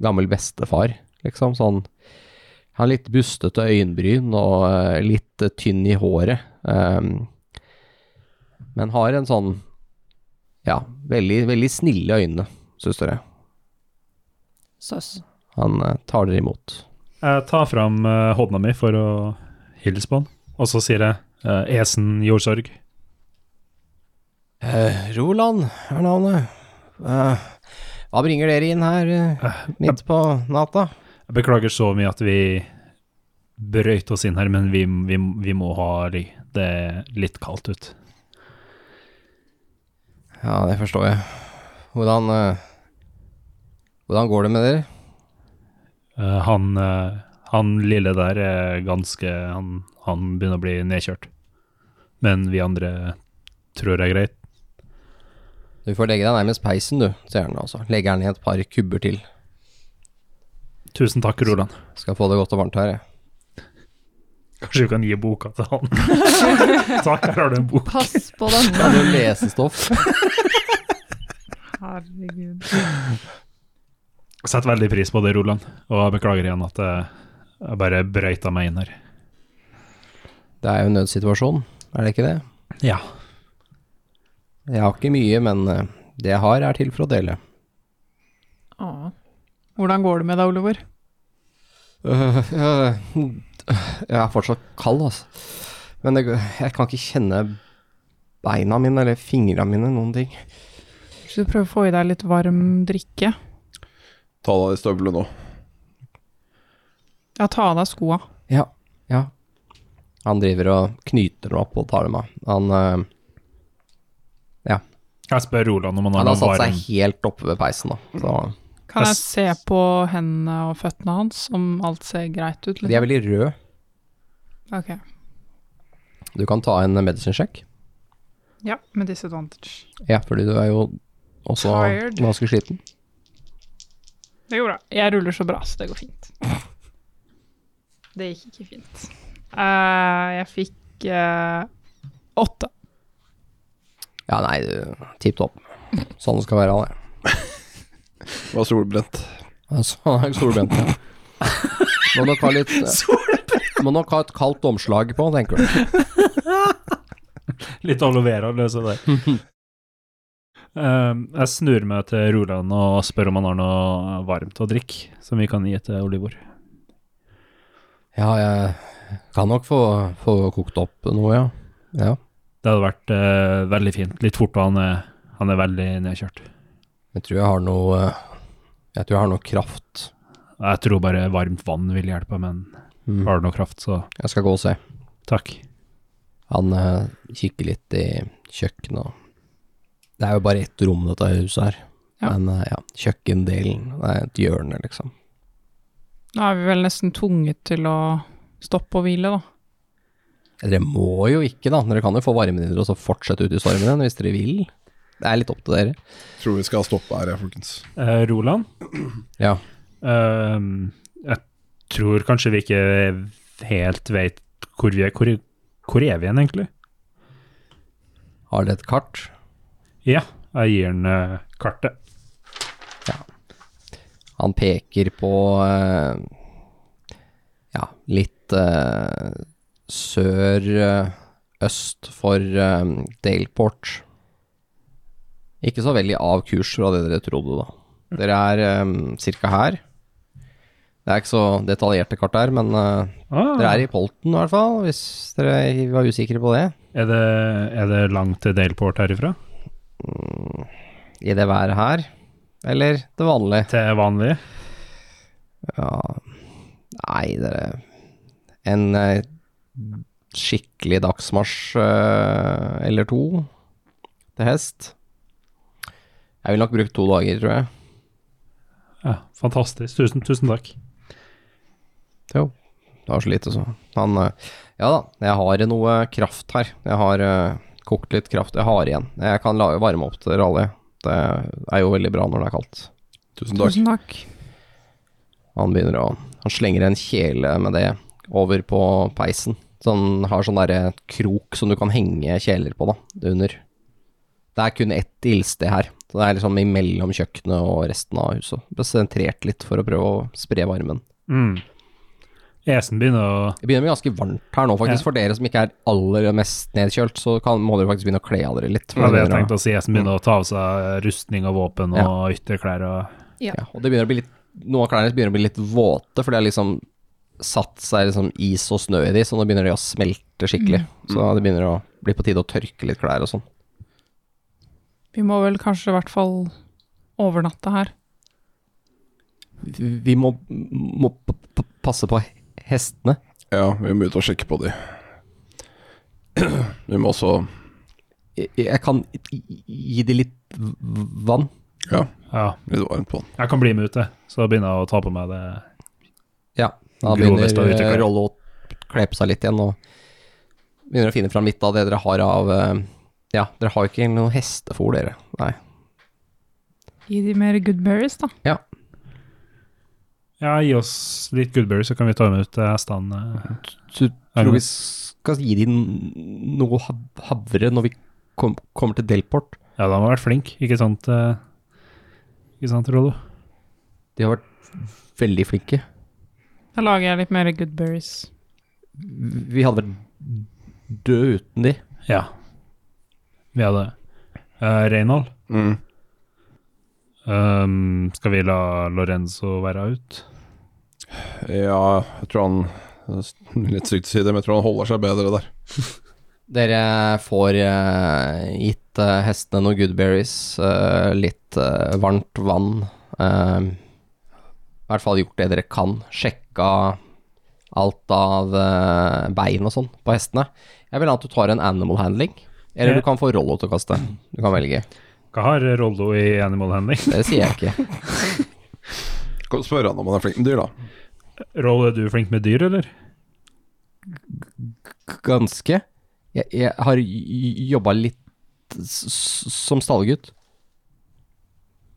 Speaker 2: gammel bestefar, liksom. Sånn Han har litt bustete øyenbryn og eh, litt eh, tynn i håret. ehm, men har en sånn Ja, veldig, veldig snille øyne, syns dere.
Speaker 4: Søs.
Speaker 2: Han eh, tar dere imot.
Speaker 6: Jeg tar fram eh, hånda mi for å hilse på han, og så sier jeg eh, Esen jordsorg.
Speaker 2: Eh, Roland er navnet. Eh, hva bringer dere inn her eh, midt på natta?
Speaker 6: Jeg beklager så mye at vi brøyt oss inn her, men vi, vi, vi må ha ly. Det er litt kaldt ut.
Speaker 2: Ja, det forstår jeg. Hvordan eh, Hvordan går det med dere?
Speaker 6: Eh, han, eh, han lille der er ganske han, han begynner å bli nedkjørt. Men vi andre tror det er greit.
Speaker 2: Du får legge deg nærmest peisen, du, sier han altså. Legger den i et par kubber til.
Speaker 6: Tusen takk, Roland.
Speaker 2: Skal få det godt og varmt her, jeg.
Speaker 6: Kanskje vi kan gi boka til han. takk, her har du en bok.
Speaker 4: Pass på den.
Speaker 2: Kan du lese stoff?
Speaker 5: Herregud.
Speaker 6: Sett veldig pris på det, Roland. Og jeg beklager igjen at jeg, jeg bare brøyta meg inn her.
Speaker 2: Det er jo en nødsituasjon, er det ikke det?
Speaker 6: Ja.
Speaker 2: Jeg har ikke mye, men eh, det jeg har, er til for å dele.
Speaker 4: Å,
Speaker 5: Hvordan går det med deg, Oliver?
Speaker 2: Øh, øh, jeg er fortsatt kald, altså. Men det, jeg kan ikke kjenne beina mine eller fingra mine, noen ting.
Speaker 5: Skal du prøve å få i deg litt varm drikke?
Speaker 3: Ta av deg støvlene nå.
Speaker 5: Ja, ta av deg skoa.
Speaker 2: Ja, ja. Han driver og knyter dem opp og tar dem av. Han, øh,
Speaker 6: Jeg spør Roland om han har
Speaker 2: han har
Speaker 6: noen
Speaker 2: satt
Speaker 6: varm
Speaker 2: seg helt oppe ved peisen, da. Så,
Speaker 5: Kan jeg
Speaker 6: Ass.
Speaker 5: se på hendene og føttene hans, om alt ser greit ut?
Speaker 2: de er
Speaker 5: Liksom?
Speaker 2: veldig røde.
Speaker 5: Ok.
Speaker 2: Du kan ta en medicine check.
Speaker 5: Ja, med disadvantage.
Speaker 2: Ja, fordi du er jo også
Speaker 5: Tired.
Speaker 2: ganske sliten.
Speaker 5: Det går bra. Jeg ruller så bra, så det går fint. Det gikk ikke fint. Eh, jeg fikk eh, åtte.
Speaker 2: Ja, nei, tipp topp. Sånn det skal være, han er.
Speaker 3: Hva er solbrent?
Speaker 2: Altså, han er solbrent. ja. Må nok ha litt Må nok ha et kaldt omslag på, tenker du.
Speaker 6: Litt aloe vera løse der. Eh, jeg snur meg til Roland og spør om han har noe varmt å drikke som vi kan gi til Olivor.
Speaker 2: Ja, jeg kan nok få, få kokt opp noe, ja. ja.
Speaker 6: Det hadde vært eh, veldig fint. Litt fort, og han er, han er veldig nedkjørt.
Speaker 2: Jeg tror jeg har noe eh, Jeg tror jeg har noe kraft.
Speaker 6: Jeg tror bare varmt vann vil hjelpe, men
Speaker 2: Mm.
Speaker 6: har du noe kraft, så
Speaker 2: Jeg skal gå og se.
Speaker 6: takk.
Speaker 2: Han eh, kikker litt i kjøkkenet og Det er jo bare ett rom, dette huset her.
Speaker 5: Ja.
Speaker 2: Men eh, ja, kjøkkendelen det er et hjørne, liksom.
Speaker 5: Nå er vi vel nesten tvunget til å stoppe og hvile, da.
Speaker 2: Dere må jo ikke, da. Dere kan jo få varmen dere og så fortsette ut i stormen igjen hvis dere vil. Det er litt opp til dere.
Speaker 3: Tror vi skal stoppe her, ja, folkens.
Speaker 6: Eh, Roland,
Speaker 2: Ja.
Speaker 6: eh, jeg tror kanskje vi ikke helt vet hvor vi er. Hvor, hvor er vi igjen, egentlig?
Speaker 2: Har dere et kart?
Speaker 6: Ja, jeg gir han eh, kartet.
Speaker 2: Han peker på eh, ja, litt eh, sør eh, øst for eh, Daleport. Ikke så veldig av kurs fra det dere trodde, da. Dere er um, cirka her. Det er ikke så detaljerte kart der, men eh,
Speaker 6: Ah,
Speaker 2: dere er i Polten i hvert fall, hvis dere var usikre på det.
Speaker 6: er, det, er det langt til Daleport herifra?
Speaker 2: I det været her, eller det vanlige.
Speaker 6: Til vanlig?
Speaker 2: Ja, nei, dere En eh, skikkelig dagsmarsj eh, eller to til hest. Jeg ville nok brukt to dager, tror jeg.
Speaker 6: Ja, fantastisk. Tusen, tusen takk.
Speaker 2: Det var så lite, så. Han eh, Ja da, jeg har noe kraft her. Jeg har eh, kokt litt kraft. Jeg har igjen. Jeg kan lage varme opp til dere alle. Det er jo veldig bra når det er kaldt.
Speaker 3: Tusen takk.
Speaker 5: Tusen takk.
Speaker 2: Han begynner å Han slenger en kjele med det over på peisen. Så han har sånn derre krok som du kan henge kjeler på, da, under. Det er kun ett ildsted her, Så det er liksom imellom kjøkkenet og resten av huset. Presentrert litt for å prøve å spre varmen.
Speaker 6: Mm. Esen begynner å
Speaker 2: Det begynner å bli ganske varmt her nå, faktisk.
Speaker 6: Ja.
Speaker 2: For dere som ikke er aller mest nedkjølt, så kan, må dere faktisk begynne å kle av dere litt. for
Speaker 6: Det var det Mm. jeg
Speaker 2: begynner å-
Speaker 6: tenkte å si. Esen begynner å ta av seg rustning og våpen og ytterklær og
Speaker 2: Ja, og det begynner å bli litt, noen av klærne begynner å bli litt våte, for det har liksom satt seg liksom is og snø i de, så nå begynner de å smelte skikkelig. Så det begynner å bli på tide å tørke litt klær og sånn.
Speaker 5: Vi må vel kanskje i hvert fall overnatte her.
Speaker 2: Vi vi må, må p- p- passe på hestene.
Speaker 3: Ja, vi må ut og sjekke på de. Vi må også
Speaker 2: Jeg- Jeg kan gi de litt v- vann.
Speaker 3: Ja,
Speaker 6: Ja,
Speaker 3: litt varmt på den.
Speaker 6: jeg kan bli med ut, jeg. Så jeg begynner jeg å ta på meg det.
Speaker 2: Ja, da begynner
Speaker 6: Grovest av uteklær.
Speaker 2: eh, Rollo å kle på seg litt igjen og begynner å finne fram litt av det dere har av eh, Ja, dere har jo ikke noe hestefôr, dere. Nei.
Speaker 5: Gi de mer goodberries, da.
Speaker 6: Ja, gi oss litt goodberry, så kan vi ta med ut eh, hestene.
Speaker 2: Så
Speaker 6: Er
Speaker 2: tror
Speaker 6: det-
Speaker 2: vi skal gi dem noe hav- havre når vi kom, kommer til Delport.
Speaker 6: Ja, da må ha vært flink, ikke sant? eh? Ikke sant, Rollo?
Speaker 2: De har vært veldig flinke.
Speaker 5: Da lager jeg litt mer goodberries.
Speaker 2: Vi hadde vært døde uten de.
Speaker 6: Ja. Vi hadde uh, Reynold,
Speaker 3: Mm.
Speaker 6: ehm, skal vi la Lorenzo være ut?
Speaker 3: Ja, jeg tror han det er Litt sykt å si det, men jeg tror han holder seg bedre der.
Speaker 2: Dere får eh, gitt eh, hestene noen goodberries, eh, litt eh, varmt vann. eh, I hvert fall gjort det dere kan. Sjekka alt av eh, bein og sånn på hestene. Jeg vil ha at du tar en animal handling, eller
Speaker 6: Ja.
Speaker 2: du kan få Rollo til å kaste. Du kan velge.
Speaker 6: Hva har Rollo i Animal Handling?
Speaker 2: Det sier jeg ikke.
Speaker 3: Kan spørre han om han er flink med dyr, da.
Speaker 6: Rollo, er du flink med dyr, eller?
Speaker 2: Ganske. Jeg, jeg har jobba litt s s som stallgutt.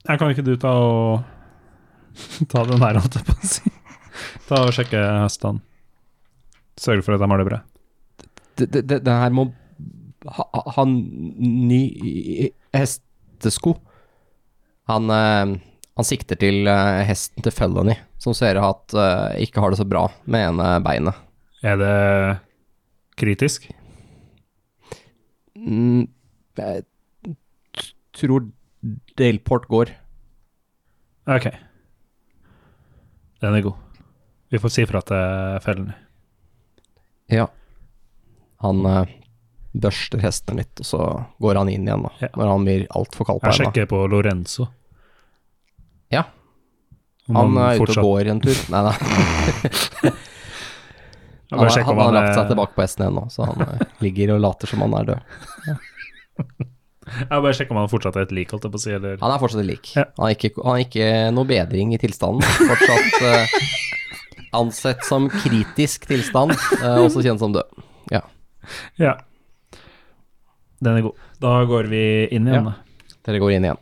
Speaker 6: Jeg kan ikke du ta og ta den her, holdt jeg på å si. Ta og sjekke hestene. Sørge for at de har det bra.
Speaker 2: Det, det, det, det her må ha, ha en ny i- i- hestesko. Han, eh, han sikter til eh, hesten til Felony, som ser at eh, ikke har det så bra med ene beinet.
Speaker 6: Er det kritisk?
Speaker 2: Mm, jeg t- tror Delport går.
Speaker 6: Ok. Den er god. Vi får si fra til fellene.
Speaker 2: Ja. Han eh, børster hesten litt, og så går han inn igjen da,
Speaker 6: Ja.
Speaker 2: når han blir altfor kald på
Speaker 6: Jeg
Speaker 2: henda.
Speaker 6: sjekker på Lorenzo.
Speaker 2: Ja.
Speaker 6: Om
Speaker 2: Han er ute
Speaker 6: fortsatt-
Speaker 2: og går en tur. Nei, nei.
Speaker 6: Jeg
Speaker 2: Han,
Speaker 6: bare
Speaker 2: er,
Speaker 6: sjekker
Speaker 2: han
Speaker 6: om eh,
Speaker 2: har
Speaker 6: er-
Speaker 2: lagt seg tilbake på hesten igjen nå, så han eh, ligger og later som han er død.
Speaker 6: Jeg bare sjekker om han fortsatt er et lik, holdt jeg på å si, eller
Speaker 2: Han er fortsatt lik.
Speaker 6: Ja.
Speaker 2: Han er ikke, han er ikke noe bedring i tilstanden. Fortsatt eh, ansett som kritisk tilstand, eh, også kjent som død. Ja.
Speaker 6: Ja. Den er god. Da går vi inn igjen,
Speaker 2: Ja.
Speaker 6: da.
Speaker 2: Dere går inn igjen.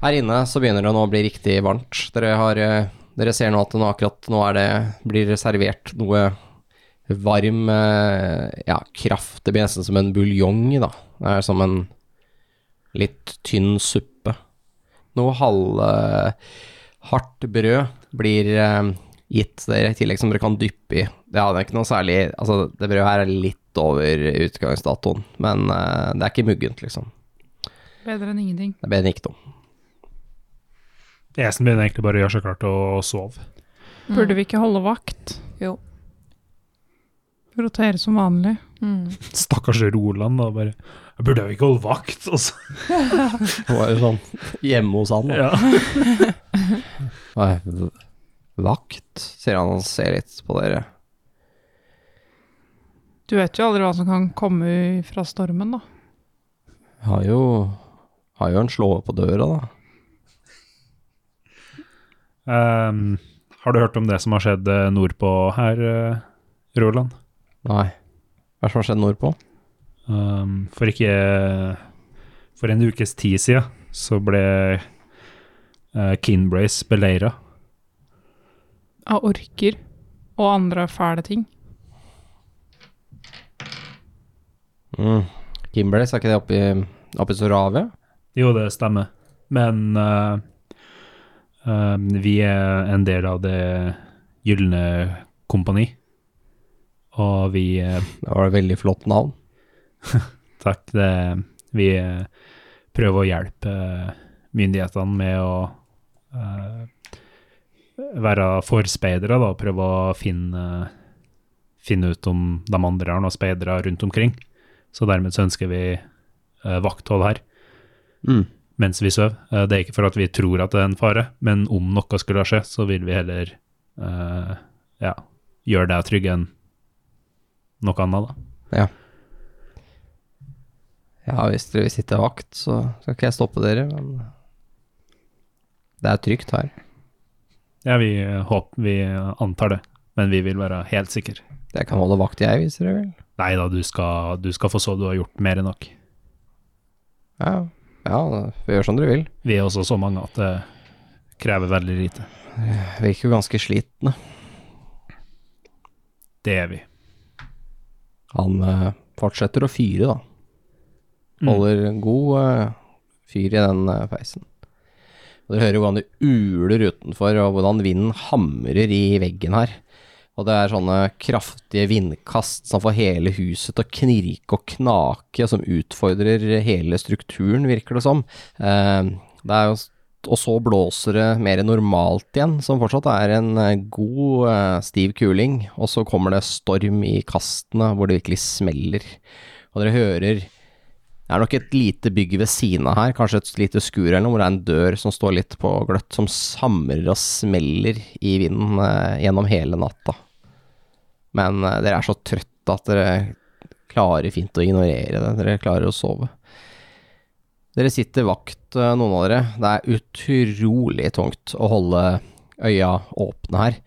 Speaker 2: Her inne så begynner det nå å bli riktig varmt. Dere, har, eh, dere ser nå at det nå akkurat nå er det, blir det servert noe varm eh, ja, kraft. Det blir nesten som en buljong, da. Det er som en litt tynn suppe. Noe halvhardt brød blir eh, gitt dere, i tillegg som dere kan dyppe i. Det er ikke noe særlig Altså, det brødet her er litt over utgangsdatoen, men eh, det er ikke muggent, liksom.
Speaker 5: Bedre enn ingenting.
Speaker 2: Det ble den ikke noe.
Speaker 6: Esen begynner egentlig bare å gjøre seg klar til å sove.
Speaker 5: Burde vi ikke holde vakt?
Speaker 4: Jo.
Speaker 5: Rotere som vanlig.
Speaker 4: Mm.
Speaker 6: Stakkars Roland, da. bare «Jeg Burde jeg ikke holde vakt? Og så
Speaker 2: Det var jo sånn hjemme hos han. Da.
Speaker 6: ja.
Speaker 2: Nei, v- Vakt, sier han og ser litt på dere.
Speaker 5: Du vet jo aldri hva som kan komme fra stormen, da.
Speaker 2: Har jo, har jo en slåe på døra, da.
Speaker 6: Ehm, Har du hørt om det som har skjedd eh, nordpå her, eh, Roland?
Speaker 2: Nei. Hva er det som har skjedd nordpå?
Speaker 6: Ehm, for ikke For en ukes tid siden så ble uh, Kinbrace beleira.
Speaker 5: Av orker og andre fæle ting.
Speaker 2: Mm. Kimberley, er ikke det oppi, oppi Soravia?
Speaker 6: Jo, det stemmer. Men eh, eh, vi er en del av det gylne kompani. Og vi eh,
Speaker 2: Det var et veldig flott navn.
Speaker 6: Takk. Det, vi eh, prøver å hjelpe eh, myndighetene med å eh, være forspeidere, da. Prøve å finne, finne ut om de andre har noen speidere rundt omkring. Så dermed så ønsker vi eh, vakthold her
Speaker 2: Mm.
Speaker 6: mens vi sover. Eh, Det er ikke for at vi tror at det er en fare, men om noe skulle skje, så vil vi heller eh, ja, gjøre deg trygg enn noe annet, da.
Speaker 2: Ja, hvis dere vil sitte vakt, så skal ikke jeg stoppe dere, men det er trygt her.
Speaker 6: Ja, vi eh, håper, vi antar det, men vi vil være helt sikre.
Speaker 2: Jeg kan holde vakt, jeg, hvis dere vil.
Speaker 6: Nei da, du skal, du skal få sove, du har gjort mer enn nok.
Speaker 2: Ja, ja vi gjør som dere vil.
Speaker 6: Vi er også så mange at det krever veldig lite.
Speaker 2: Virker jo ganske slitne.
Speaker 6: Det er vi.
Speaker 2: Han eh, fortsetter å fyre, da. Holder god eh, fyr i den eh, peisen. Og Dere hører jo hvordan det uler utenfor, og hvordan vinden hamrer i veggen her. Og det er sånne kraftige vindkast som får hele huset til å knirke og knake, som utfordrer hele strukturen, virker det som. Eh, det er jo s- og så blåser det mer normalt igjen, som fortsatt er en eh, god, eh, stiv kuling. Og så kommer det storm i kastene, hvor det virkelig smeller. Og dere hører det er nok et lite bygg ved siden av her, kanskje et lite skur eller noe, hvor det er en dør som står litt på gløtt, som samrer og smeller i vinden eh, gjennom hele natta. Men eh, dere er så trøtte at dere klarer fint å ignorere det, dere klarer å sove. Dere sitter vakt, eh, noen av dere. Det er utrolig tungt å holde øya åpne her.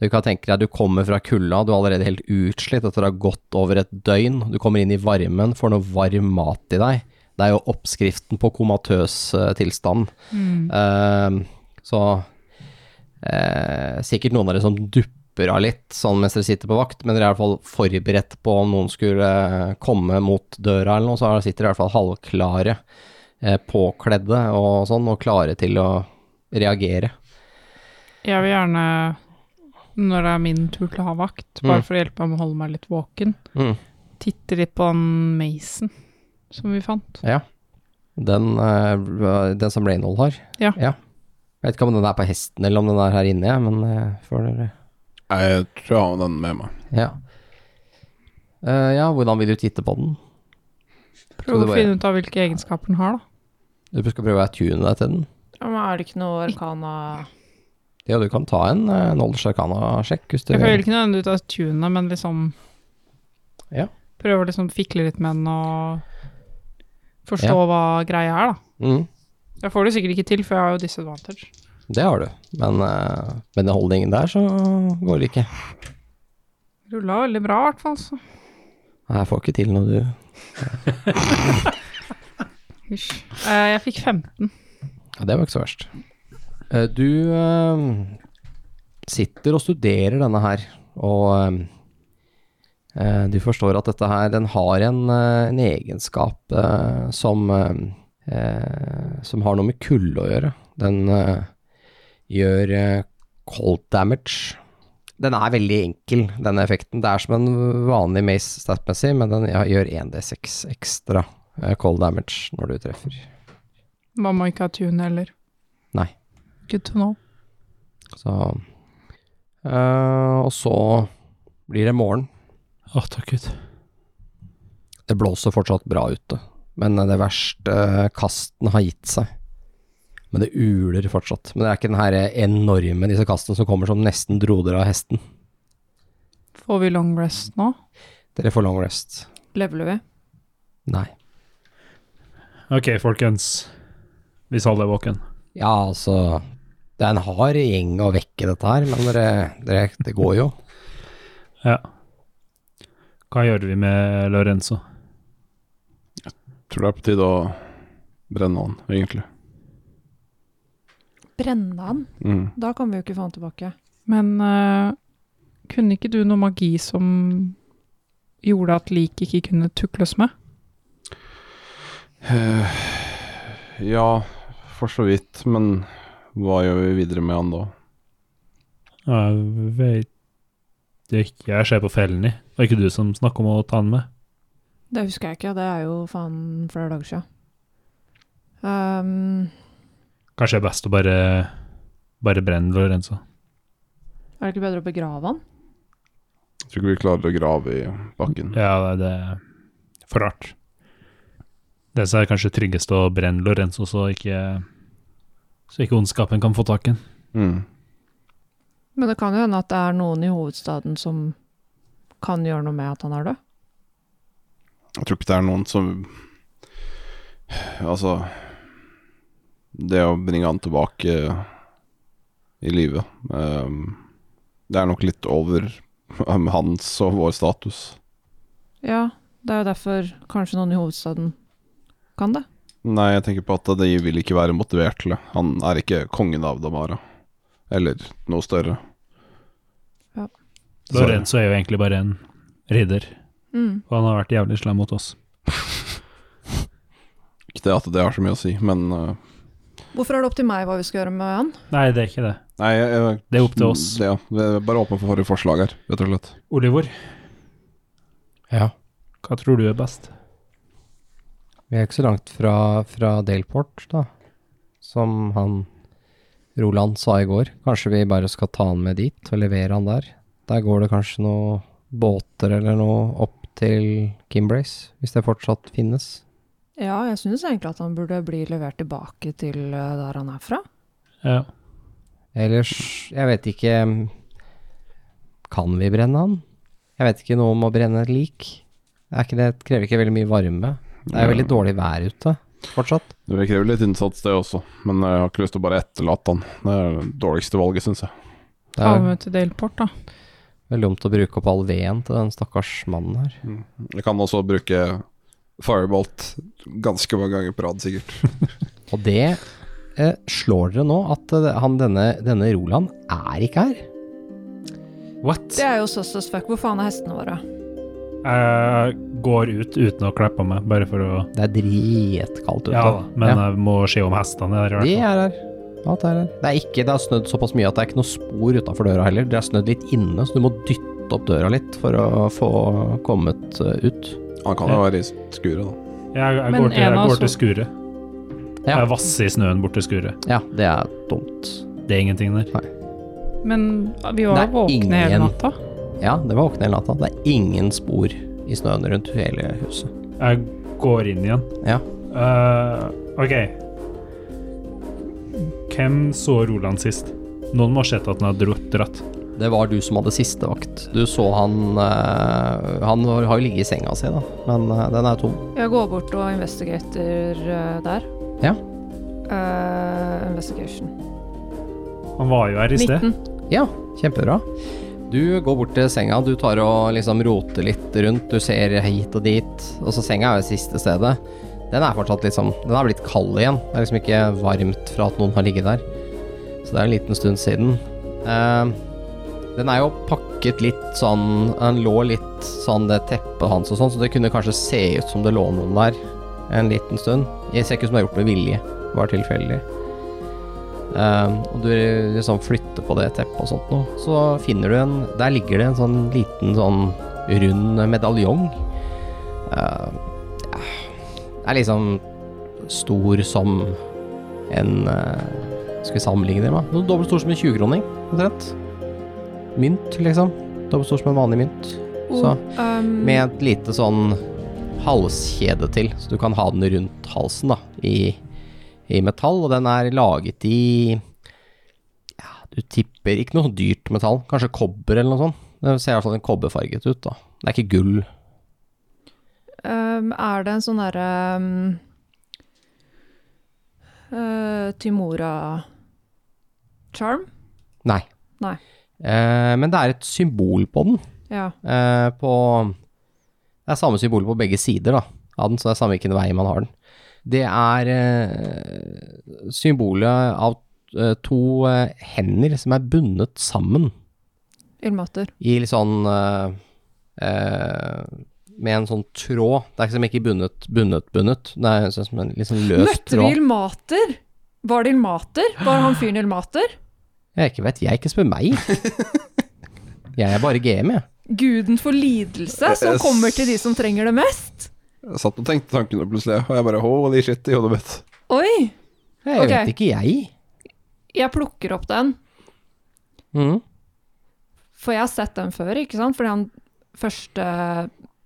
Speaker 2: Du kan tenke deg at du kommer fra kulda, du er allerede helt utslitt etter å ha gått over et døgn. Du kommer inn i varmen, får noe varm mat i deg. Det er jo oppskriften på komatøs eh, tilstand. Eh, så eh, sikkert noen av dere som dupper av litt sånn mens dere sitter på vakt, men dere er i hvert fall forberedt på om noen skulle eh, komme mot døra eller noe, så sitter dere i hvert fall halvklare, eh, påkledde og sånn, og klare til å reagere.
Speaker 5: Jeg vil gjerne, når det er min tur til å ha vakt, bare
Speaker 2: Mm.
Speaker 5: for å hjelpe meg med å holde meg litt våken,
Speaker 2: Mm.
Speaker 5: titte litt på den meisen som vi fant.
Speaker 2: Den, eh, den som Reynold har?
Speaker 5: Ja.
Speaker 2: Jeg vet ikke om den er på hesten eller om den er her inne, jeg, men eh, får dere
Speaker 3: Jeg tror jeg har den med meg.
Speaker 2: ja. Eh, ja, hvordan vil du titte på den?
Speaker 5: Prøv
Speaker 2: det
Speaker 5: å
Speaker 2: var-
Speaker 5: finne ut av hvilke egenskaper den har, da.
Speaker 2: Du skal prøve å attune deg til den.
Speaker 4: Ja, men er det ikke noe arkana
Speaker 2: Ja, du kan ta en uh, Knowledge Arcana-sjekk hvis du
Speaker 5: Jeg føler
Speaker 2: vil.
Speaker 5: ikke nødvendigvis ut av tunet, men liksom
Speaker 2: Ja.
Speaker 5: Prøve å liksom fikle litt med den og forstå
Speaker 2: Ja.
Speaker 5: hva greia er, da.
Speaker 2: Mm,
Speaker 5: Jeg får det sikkert ikke til, for jeg har jo disadvantage.
Speaker 2: det har du, men eh, med den holdningen der, så går det ikke.
Speaker 5: Rulla veldig bra, i hvert fall. så.
Speaker 2: Nei, Jeg får ikke til noe, du.
Speaker 5: Hysj. Eh, jeg fikk 15.
Speaker 2: Ja, det var ikke så verst. Eh, du eh, sitter og studerer denne her, og eh, eh, du forstår at dette her, den har en, eh, en egenskap eh, som, eh, eh, som har noe med kulde å gjøre. Den eh, gjør eh, cold damage. Den er veldig enkel, denne effekten. Det er som en vanlig mace statmessig, men den gjør 1D6 ekstra eh, cold damage når du treffer.
Speaker 5: Man må ikke ha tune heller.
Speaker 2: Nei.
Speaker 5: Good to know.
Speaker 2: Så eh, Og så blir det morgen.
Speaker 6: Å, takk Gud.
Speaker 2: Det blåser fortsatt bra ute, men det verste eh, kasten har gitt seg. Men det uler fortsatt. Men det er ikke den her enorme disse kastene som kommer som nesten dro dere av hesten.
Speaker 5: Får vi long rest nå?
Speaker 2: Dere får long rest.
Speaker 4: leveler vi?
Speaker 2: Nei.
Speaker 6: Ok, folkens. Hvis alle er våken.
Speaker 2: Ja, altså Det er en hard gjeng å vekke dette her, men dere, dere Det går jo.
Speaker 6: Ja. Hva gjør vi med Lorenzo?
Speaker 3: Tror det er på tide å brenne han, egentlig.
Speaker 4: Brenne han?
Speaker 3: Mm.
Speaker 4: Da kan vi jo ikke få han tilbake.
Speaker 5: Men eh, kunne ikke du noe magi som gjorde at lik ikke kunne tukles med?
Speaker 3: Eh, Ja, for så vidt. Men hva gjør vi videre med han da?
Speaker 6: Jeg vet ikke, jeg ser på fellen i. Var ikke du som snakket om å ta den med?
Speaker 4: Det husker jeg ikke, det er jo faen flere dager siden. Ehm,
Speaker 6: Kanskje det er best å bare, bare brenne Lorenzo.
Speaker 4: er det ikke bedre å begrave han?
Speaker 3: Jeg tror ikke vi klarer å grave i bakken.
Speaker 6: Ja, det er det er for rart. Det som er kanskje tryggest å brenne Lorenzo, så ikke, så ikke ondskapen kan få tak i den.
Speaker 3: Mm.
Speaker 4: Men det kan jo hende at det er noen i hovedstaden som kan gjøre noe med at han er død.
Speaker 3: Jeg tror ikke det er noen som Altså Det å bringe han tilbake i live ehm, Det er nok litt over ehm, hans og vår status.
Speaker 4: Ja, det er jo derfor kanskje noen i hovedstaden kan det.
Speaker 3: Nei, jeg tenker på at de vil ikke være motivert til det. Han er ikke kongen av Damara. Eller noe større.
Speaker 4: Ja.
Speaker 3: Så-
Speaker 6: Lorenzo er jo egentlig bare en ridder,
Speaker 4: Mm.
Speaker 6: og han har vært jævlig slem mot oss.
Speaker 3: Ikke det at det har så mye å si, men eh,
Speaker 4: Hvorfor er det opp til meg hva vi skal gjøre med han?
Speaker 6: Nei, det er ikke det.
Speaker 3: Nei, jeg, jeg-
Speaker 6: Det er opp til oss.
Speaker 3: Ja, vi er bare åpen for forslag her, rett og slett.
Speaker 6: Olivor,
Speaker 2: Ja.
Speaker 6: hva tror du er best?
Speaker 2: Vi er ikke så langt fra, fra Delport, da. Som han Roland sa i går. Kanskje vi bare skal ta han med dit og levere han der. Der går det kanskje noen båter eller noe opp til Kimbrace, hvis det fortsatt finnes.
Speaker 4: Ja, jeg synes egentlig at han burde bli levert tilbake til eh, der han er fra.
Speaker 6: Ja.
Speaker 2: Ellers, jeg vet ikke Kan vi brenne han? Jeg vet ikke noe om å brenne et lik. Er ikke det krever ikke veldig mye varme. Det er jo veldig dårlig vær ute fortsatt.
Speaker 3: Det krever litt innsats, det også, men jeg har ikke lyst til å bare etterlate han. Det er det dårligste valget, syns jeg.
Speaker 2: Det
Speaker 5: Ta
Speaker 2: er
Speaker 5: med til Delport, da.
Speaker 2: veldig dumt å bruke opp all veden til den stakkars mannen her.
Speaker 3: Jeg kan også bruke firebolt ganske mange ganger på rad, sikkert.
Speaker 2: Og det eh, slår dere nå, at eh, han, denne, denne Roland er ikke her.
Speaker 6: What?
Speaker 4: Det er jo søsters fuck. Hvor faen er hestene våre?
Speaker 6: Jeg går ut uten å kleppe meg, bare for å
Speaker 2: Det er dritkaldt ute.
Speaker 6: Ja da, men eh,
Speaker 2: Ja,
Speaker 6: jeg må se om hestene er der.
Speaker 2: de
Speaker 6: i hvert
Speaker 2: er her. Alt er her. Det er ikke, det har snødd såpass mye at det er ikke noe spor utafor døra heller. Det er snødd litt inne, så du må dytte opp døra litt for å få kommet eh, ut.
Speaker 3: Han kan jo være i skuret, da.
Speaker 6: fall. Jeg, jeg,
Speaker 5: Men
Speaker 6: går til,
Speaker 5: en av
Speaker 6: jeg
Speaker 5: oss-
Speaker 6: går til skuret.
Speaker 2: Ja.
Speaker 6: Jeg vasser i snøen bort til skuret.
Speaker 2: Ja, det er dumt.
Speaker 6: Det er ingenting der.
Speaker 5: Men vi var
Speaker 2: Det
Speaker 5: jo
Speaker 2: er
Speaker 5: våkne hele
Speaker 2: ingen-
Speaker 5: natta.
Speaker 2: Ja, det var våkne hele natta. Det er ingen spor i snøen rundt hele huset.
Speaker 6: Jeg går inn igjen.
Speaker 2: Ja.
Speaker 6: Eh, OK. Hvem så Roland sist? Noen må ha sett at han har dro- dratt.
Speaker 2: Det var du som hadde siste vakt. Du så han eh, Han har jo ligget i senga si, da, men eh, den er tom.
Speaker 4: Jeg går bort og investigater eh, der.
Speaker 2: Ja.
Speaker 4: Eh, investigation.
Speaker 6: Han var jo her i sted.
Speaker 4: 19.
Speaker 2: Ja, kjempebra. Du går bort til senga, du tar og liksom roter litt rundt, du ser hit og dit, og så senga er jo siste stedet. Den er fortsatt liksom Den er blitt kald igjen. Det er liksom ikke varmt fra at noen har ligget der. Så det er en liten stund siden. Eh, den er jo pakket litt sånn Den lå litt sånn det teppet hans og sånn, så det kunne kanskje se ut som det lå noen der en liten stund. Jeg ser ikke ut som det er gjort med vilje. Det var tilfeldig. Ehm, og du liksom flytter på det teppet og sånt noe, så finner du en Der ligger det en sånn liten sånn rund medaljong. Ehm, ja, det er liksom stor som en eh, Skal vi sammenligne det med? Noe Dobbelt stor som en 20-kroning, omtrent. Mynt, liksom. Dobbelt stor som en vanlig mynt. Så,
Speaker 4: ehm,
Speaker 2: Med et lite sånn halskjede til, så du kan ha den rundt halsen da, i, i metall. Og den er laget i ja, du tipper ikke noe dyrt metall, kanskje kobber eller noe sånt. Det ser i hvert fall en kobberfarget ut, da. Det er ikke gull.
Speaker 4: ehm, er det en sånn derre ehm, eh, Timora charm?
Speaker 2: Nei.
Speaker 4: Nei.
Speaker 2: Eh, men det er et symbol på den.
Speaker 4: Ja.
Speaker 2: Eh, på Det er samme symbol på begge sider da, av den, så det er samme hvilken vei man har den. Det er eh, symbolet av eh, to eh, hender som er bundet sammen
Speaker 4: Ildmatter.
Speaker 2: i litt sånn eh, eh, med en sånn tråd. Det er ikke som ikke bundet, bundet, bundet. Det er sånn som en litt sånn løs
Speaker 4: Møtte vi
Speaker 2: tråd.
Speaker 4: Ilmater? Var det Ilmater? Var han fyren Ilmater?
Speaker 2: Jeg ikke vet, jeg ikke spør meg. Jeg er bare GM, jeg.
Speaker 4: Guden for lidelse, som
Speaker 3: Jeg-
Speaker 4: kommer til de som trenger det mest?
Speaker 3: Jeg satt og tenkte tankene plutselig, og jeg bare holy shit i hodet mitt.
Speaker 4: Oi!
Speaker 2: Jeg
Speaker 4: Ok.
Speaker 2: vet ikke, jeg.
Speaker 4: Jeg plukker opp den,
Speaker 2: Mhm.
Speaker 4: for jeg har sett den før, ikke sant? Fordi han første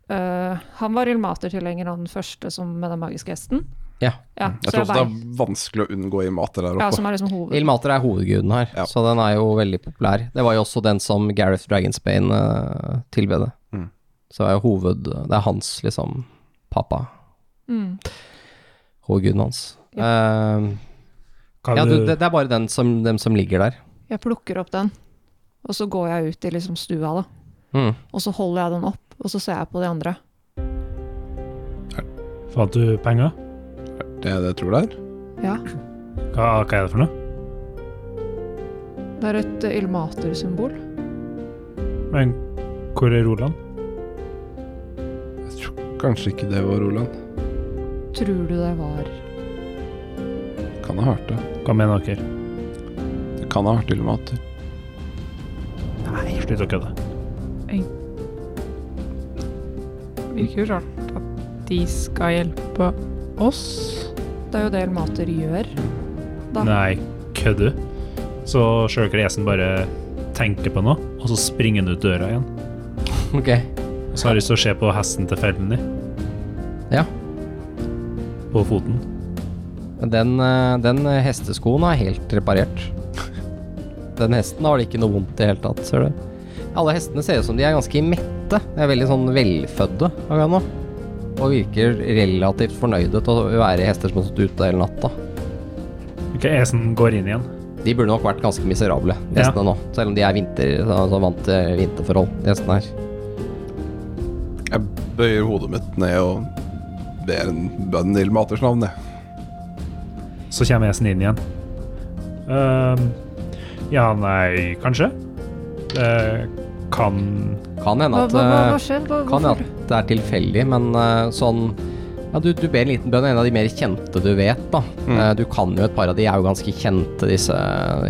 Speaker 4: øh, Han var Ilmater-tilhenger, han første som med den magiske hesten.
Speaker 2: Ja.
Speaker 4: ja
Speaker 3: Mm. Jeg
Speaker 4: så
Speaker 3: tror
Speaker 4: jeg
Speaker 3: også det
Speaker 4: bare,
Speaker 3: er vanskelig å unngå imater der
Speaker 4: ja,
Speaker 3: oppe.
Speaker 4: som er liksom hoved...
Speaker 2: Ilmater er hovedguden her,
Speaker 3: Ja.
Speaker 2: så den er jo veldig populær. Det var jo også den som Gareth Dragonsbane uh, tilbedde.
Speaker 3: Mm.
Speaker 2: Så er jo hoved Det er hans, liksom, pappa.
Speaker 4: Mm.
Speaker 2: Hovedguden hans. Eh,
Speaker 6: Kan
Speaker 2: ja, du,
Speaker 6: du-
Speaker 2: det, det er bare den som, dem som ligger der.
Speaker 4: Jeg plukker opp den, og så går jeg ut i liksom stua, da.
Speaker 2: Mm.
Speaker 4: Og så holder jeg den opp, og så ser jeg på de andre.
Speaker 6: Fant du penger?
Speaker 3: Det er det jeg tror det er.
Speaker 4: Ja,
Speaker 6: Hva, hva er det for noe?
Speaker 4: det er et eh, Ilmater-symbol.
Speaker 6: Men hvor er Roland?
Speaker 3: Jeg tror kanskje ikke det var Roland.
Speaker 4: Tror du det var
Speaker 3: Kan ha hørt det.
Speaker 6: Hva mener dere?
Speaker 3: Det kan ha vært imater.
Speaker 6: Nei, slutt å kødde.
Speaker 5: Virker jo rart at de skal hjelpe oss.
Speaker 4: Det er jo det Elmater gjør. Da.
Speaker 6: Nei, kødder du? Så Sjøker Esen bare tenker på noe, og så springer han ut døra igjen.
Speaker 2: Ok.
Speaker 6: Og så har jeg lyst til å se på hesten til fellen din,
Speaker 2: Ja.
Speaker 6: på foten.
Speaker 2: Den, eh, den hesteskoen er helt reparert. Den hesten har det ikke noe vondt i det hele tatt, ser du. Alle hestene ser ut som de er ganske mette. De er veldig sånn velfødde akkurat nå. Og virker relativt fornøyde til å være hester som har stått ute hele natta.
Speaker 6: Ok, Esen går inn igjen.
Speaker 2: De burde nok vært ganske miserable,
Speaker 6: Ja.
Speaker 2: hestene nå. Selv om de er vinter, altså vant til vinterforhold, de hestene her.
Speaker 3: Jeg bøyer hodet mitt ned og ber en bønn i Ilmaters navn, jeg.
Speaker 6: Så kommer Esen inn igjen. Ehm, ja, nei, kanskje? Det kan
Speaker 2: Kan hende
Speaker 4: Hva,
Speaker 2: at
Speaker 4: hva, hva,
Speaker 2: eh,
Speaker 4: hva skjer? Hva,
Speaker 2: Kan hende
Speaker 4: hvorfor?
Speaker 2: at det er tilfeldig, men eh, sånn ja, du, du ber en liten bønn, en av de mer kjente du vet, da. Eh, du kan jo et par av de, er jo ganske kjente, disse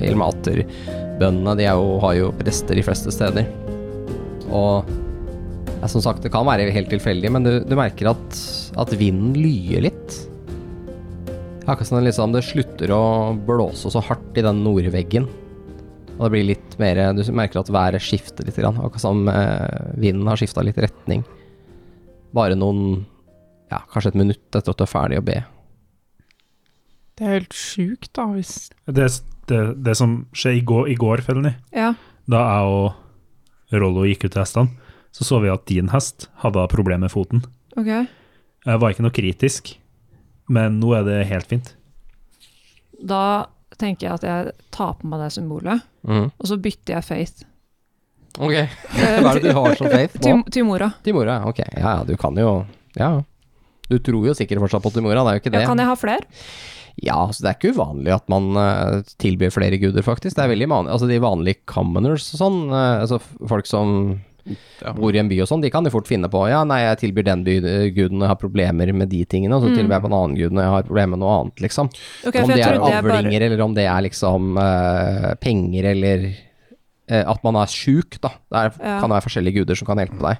Speaker 2: ilmaterbøndene. De er jo, har jo prester de fleste steder. Og ja, som sagt, det kan være helt tilfeldig, men du, du merker at, at vinden lyer litt. Det er Akkurat som det liksom, det slutter å blåse så hardt i den nordveggen. Og det blir litt mer Du merker at været skifter litt. Grann, akkurat som eh, vinden har skifta litt retning. Bare noen Ja, kanskje et minutt etter at du er ferdig å be.
Speaker 5: Det er helt sjukt, da, hvis
Speaker 6: Det, det, det som skjer i går, i går Felny,
Speaker 4: Ja.
Speaker 6: da jeg og Rollo gikk ut til hestene, så så vi at din hest hadde problemer med foten.
Speaker 4: Ok.
Speaker 6: Jeg var ikke noe kritisk, men nå er det helt fint.
Speaker 4: Da tenker jeg at jeg tar på meg det symbolet,
Speaker 2: Mm.
Speaker 4: og så bytter jeg faith
Speaker 2: Ok. Hva er det du har som faith nå?
Speaker 4: til, til mora.
Speaker 2: Timora, ja. Ok, ja ja, du kan jo Ja. Du tror jo sikkert fortsatt på Timora, det er jo ikke det.
Speaker 4: Ja, kan jeg ha flere?
Speaker 2: Ja, altså det er ikke uvanlig at man eh, tilbyr flere guder, faktisk. Det er veldig vanlig. Altså de vanlige commoners og sånn, eh, altså f- folk som
Speaker 3: Ja.
Speaker 2: bor i en by og sånn, de kan jo fort finne på ja, nei, jeg tilbyr den by- eh, guden og jeg har problemer med de tingene, og så tilbyr jeg på en annen gud når jeg har problemer med noe annet, liksom. om
Speaker 4: Ok, Mm. for
Speaker 2: det
Speaker 4: jeg
Speaker 2: er
Speaker 4: trodde jeg
Speaker 2: avlinger,
Speaker 4: bare
Speaker 2: eller om det er liksom eh, penger, eller eh, at man er sjuk, da. Det er,
Speaker 4: Ja.
Speaker 2: kan være forskjellige guder som kan hjelpe deg.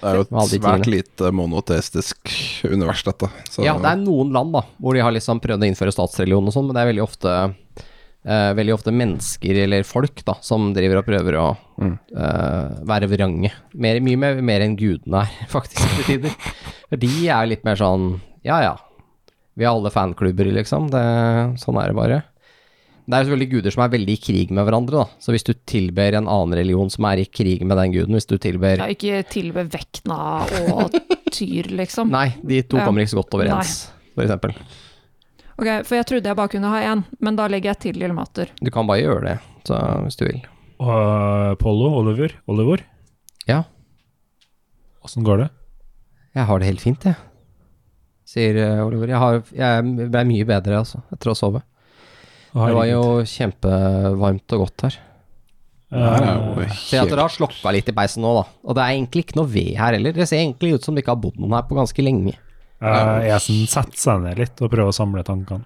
Speaker 3: Det er jo
Speaker 2: Med alle
Speaker 3: et
Speaker 2: de
Speaker 3: svært lite monoteistisk univers, dette. Så
Speaker 2: Ja, det er noen land da, hvor de har liksom prøvd å innføre statsreligion og sånn, men det er veldig ofte, eh, veldig ofte mennesker eller folk da, som driver og prøver å eh, være vrange. Mer, mye mer, mer enn gudene er, faktisk, til tider. For de er litt mer sånn, ja ja, vi har alle fanklubber, liksom. Det, sånn er det bare. Det er jo selvfølgelig guder som er veldig i krig med hverandre, da. Så hvis du tilber en annen religion som er i krig med den guden, hvis du tilber
Speaker 4: ja, Ikke tilbe Vekna og Tyr, liksom.
Speaker 2: Nei, de to
Speaker 4: Ja.
Speaker 2: kommer ikke så godt overens, for eksempel.
Speaker 4: Ok, For jeg trodde jeg bare kunne ha én, men da legger jeg til Ilmater.
Speaker 2: Du kan bare gjøre det, så, hvis du vil.
Speaker 6: Og eh, Pollo, Oliver, Oliver,
Speaker 2: Ja,
Speaker 6: åssen går det?
Speaker 2: jeg har det helt fint, jeg. Sier eh, Oliver. Jeg, har, jeg ble mye bedre, altså, etter å sove.
Speaker 6: Å,
Speaker 2: Det var
Speaker 6: herregud.
Speaker 2: jo kjempevarmt og godt her.
Speaker 3: Det her er jo
Speaker 2: Se at
Speaker 3: helt
Speaker 2: dere har slokka litt i peisen nå, da. Og det er egentlig ikke noe ved her heller. Det ser egentlig ut som det ikke har bodd noen her på ganske lenge.
Speaker 6: Eh, Esen setter seg ned litt og prøver å samle tankene.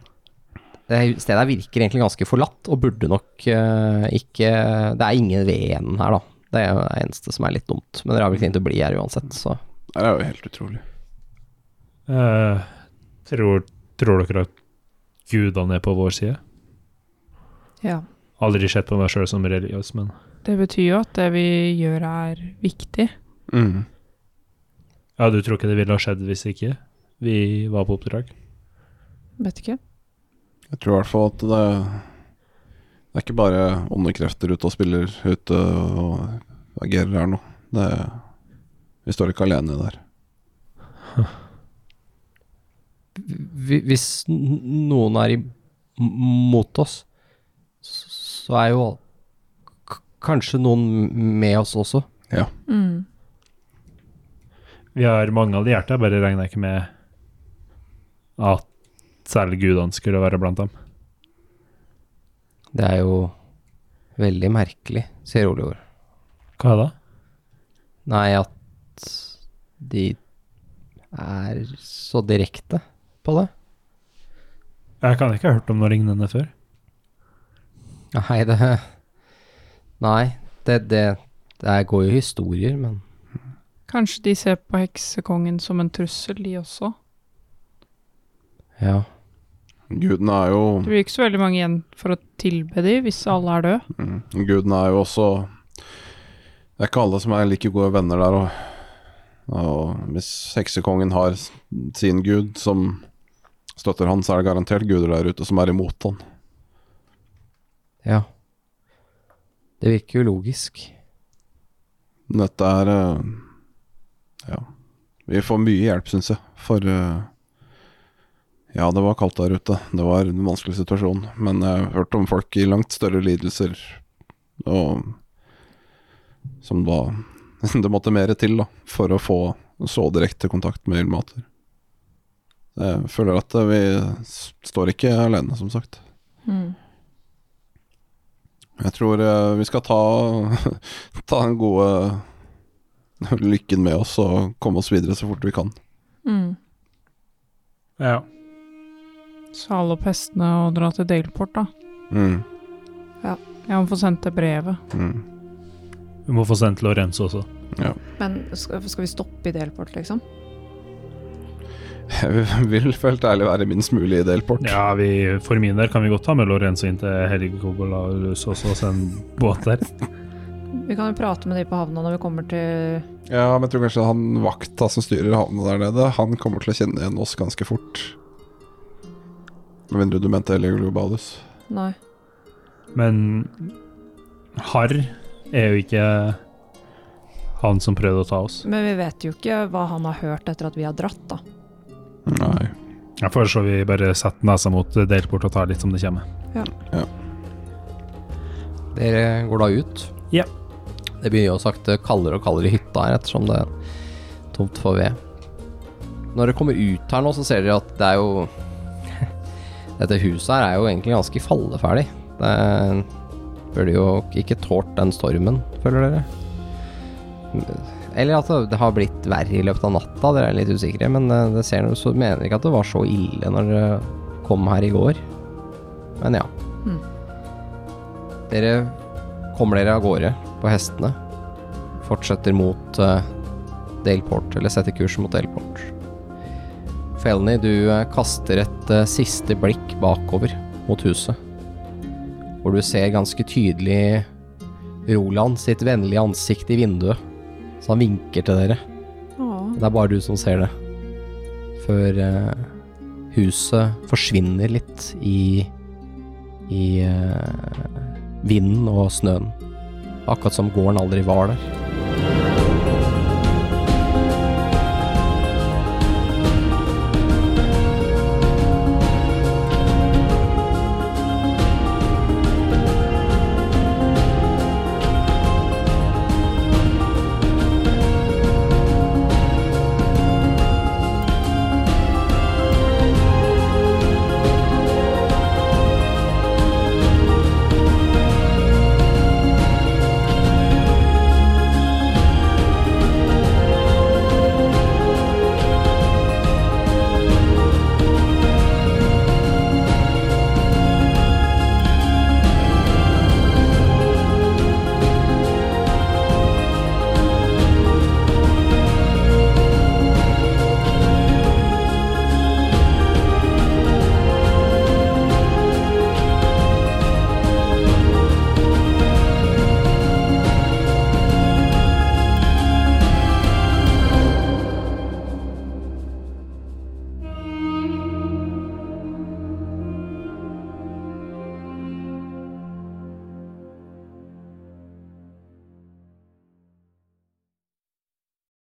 Speaker 2: Det her stedet her virker egentlig ganske forlatt, og burde nok eh, ikke Det er ingen ved igjen her, da. Det er jo det eneste som er litt dumt. Men dere har vel tenkt å bli her uansett, så
Speaker 3: Det her er jo helt utrolig.
Speaker 6: Eh, tror, tror dere at gudene er på vår side?
Speaker 4: Ja.
Speaker 6: Aldri sett på meg sjøl som religiøs, men
Speaker 5: Det betyr jo at det vi gjør er viktig.
Speaker 3: Mm.
Speaker 6: Ja, du tror ikke det ville ha skjedd hvis ikke vi var på oppdrag?
Speaker 4: Vet ikke.
Speaker 3: Jeg tror i hvert fall at det, det er ikke bare onde krefter ute og spiller ute og agerer her nå. Det, vi står ikke alene der.
Speaker 2: Hvi- Hvis n- noen er imot oss, s- så er jo k- kanskje noen med oss også.
Speaker 4: Mm.
Speaker 6: Vi har mange allierte, jeg bare regner ikke med at særlig gudene skulle være blant dem.
Speaker 2: Det er jo veldig merkelig, sier Oliver.
Speaker 6: Hva da?
Speaker 2: Nei, at de er så direkte på det.
Speaker 6: Jeg kan ikke ha hørt om noe lignende før.
Speaker 2: Nei, det Nei, det, det, det her går jo historier, men
Speaker 5: Kanskje de ser på heksekongen som en trussel, de også.
Speaker 2: ja.
Speaker 3: Gudene er jo
Speaker 5: Det blir ikke så veldig mange igjen for å tilbe de hvis alle er døde.
Speaker 3: mm, Gudene er jo også Det er ikke alle som er like gode venner der. Og, og hvis heksekongen har s- sin gud som støtter han, så er det garantert guder der ute som er imot han.
Speaker 2: Ja. Det virker jo logisk.
Speaker 3: Dette er eh, Ja. Vi får mye hjelp, syns jeg. For eh, Ja, det var kaldt der ute. Det var en vanskelig situasjon. Men jeg har hørt om folk i langt større lidelser og Som da Det måtte mer til, da, for å få så direkte kontakt med ildmater. Jeg føler at eh, vi s- står ikke alene, som sagt.
Speaker 4: Mm.
Speaker 3: Jeg tror eh, vi skal ta, ta den gode lykken med oss og komme oss videre så fort vi kan.
Speaker 4: Mm.
Speaker 6: Ja.
Speaker 5: Så alle opp hestene og dra til Daleport, da.
Speaker 3: Mm,
Speaker 5: Jeg må få sendt det brevet.
Speaker 3: mm.
Speaker 6: Vi må få sendt Lorenzo også.
Speaker 4: Men skal, skal vi stoppe i Delport, liksom?
Speaker 3: Jeg vil helt ærlig være minst mulig i Delport.
Speaker 6: Ja, vi, for min del kan vi godt ta med Lorenzo inn til Helgobolaus også, og sende båt der.
Speaker 4: Vi kan jo prate med de på havna når vi kommer til
Speaker 3: Ja, men jeg tror kanskje han vakta som styrer havna der nede, han kommer til å kjenne igjen oss ganske fort. Med mindre du mente Helio Globalus.
Speaker 4: Nei.
Speaker 6: Men Harr er jo ikke han som prøvde å ta oss.
Speaker 4: Men vi vet jo ikke hva han har hørt etter at vi har dratt, da.
Speaker 3: Nei.
Speaker 6: Jeg foreslår vi bare setter nesa mot delport og tar litt som det kommer.
Speaker 2: Dere går da ut.
Speaker 6: Ja.
Speaker 2: Det begynner jo sakte kaldere og kaldere i hytta her, ettersom det er tomt for ved. Når dere kommer ut her nå, så ser dere at det er jo Dette huset her er jo egentlig ganske falleferdig. Det burde jo ikke tålt den stormen, føler dere. Eller at det- det har blitt verre i løpet av natta, dere er litt usikre. Men det, det ser dere så mener dere ikke at det var så ille når dere kom her i går. Men ja. Dere kommer dere av gårde på hestene. Fortsetter mot eh, Delport, eller setter kurs mot Delport. Felny, du eh, kaster et eh, siste blikk bakover mot huset. Hvor du ser ganske tydelig Roland sitt vennlige ansikt i vinduet. Så han vinker til dere.
Speaker 4: Åh.
Speaker 2: Det er bare du som ser det. Før eh, huset forsvinner litt i, i eh, vinden og snøen. Akkurat som gården aldri var der.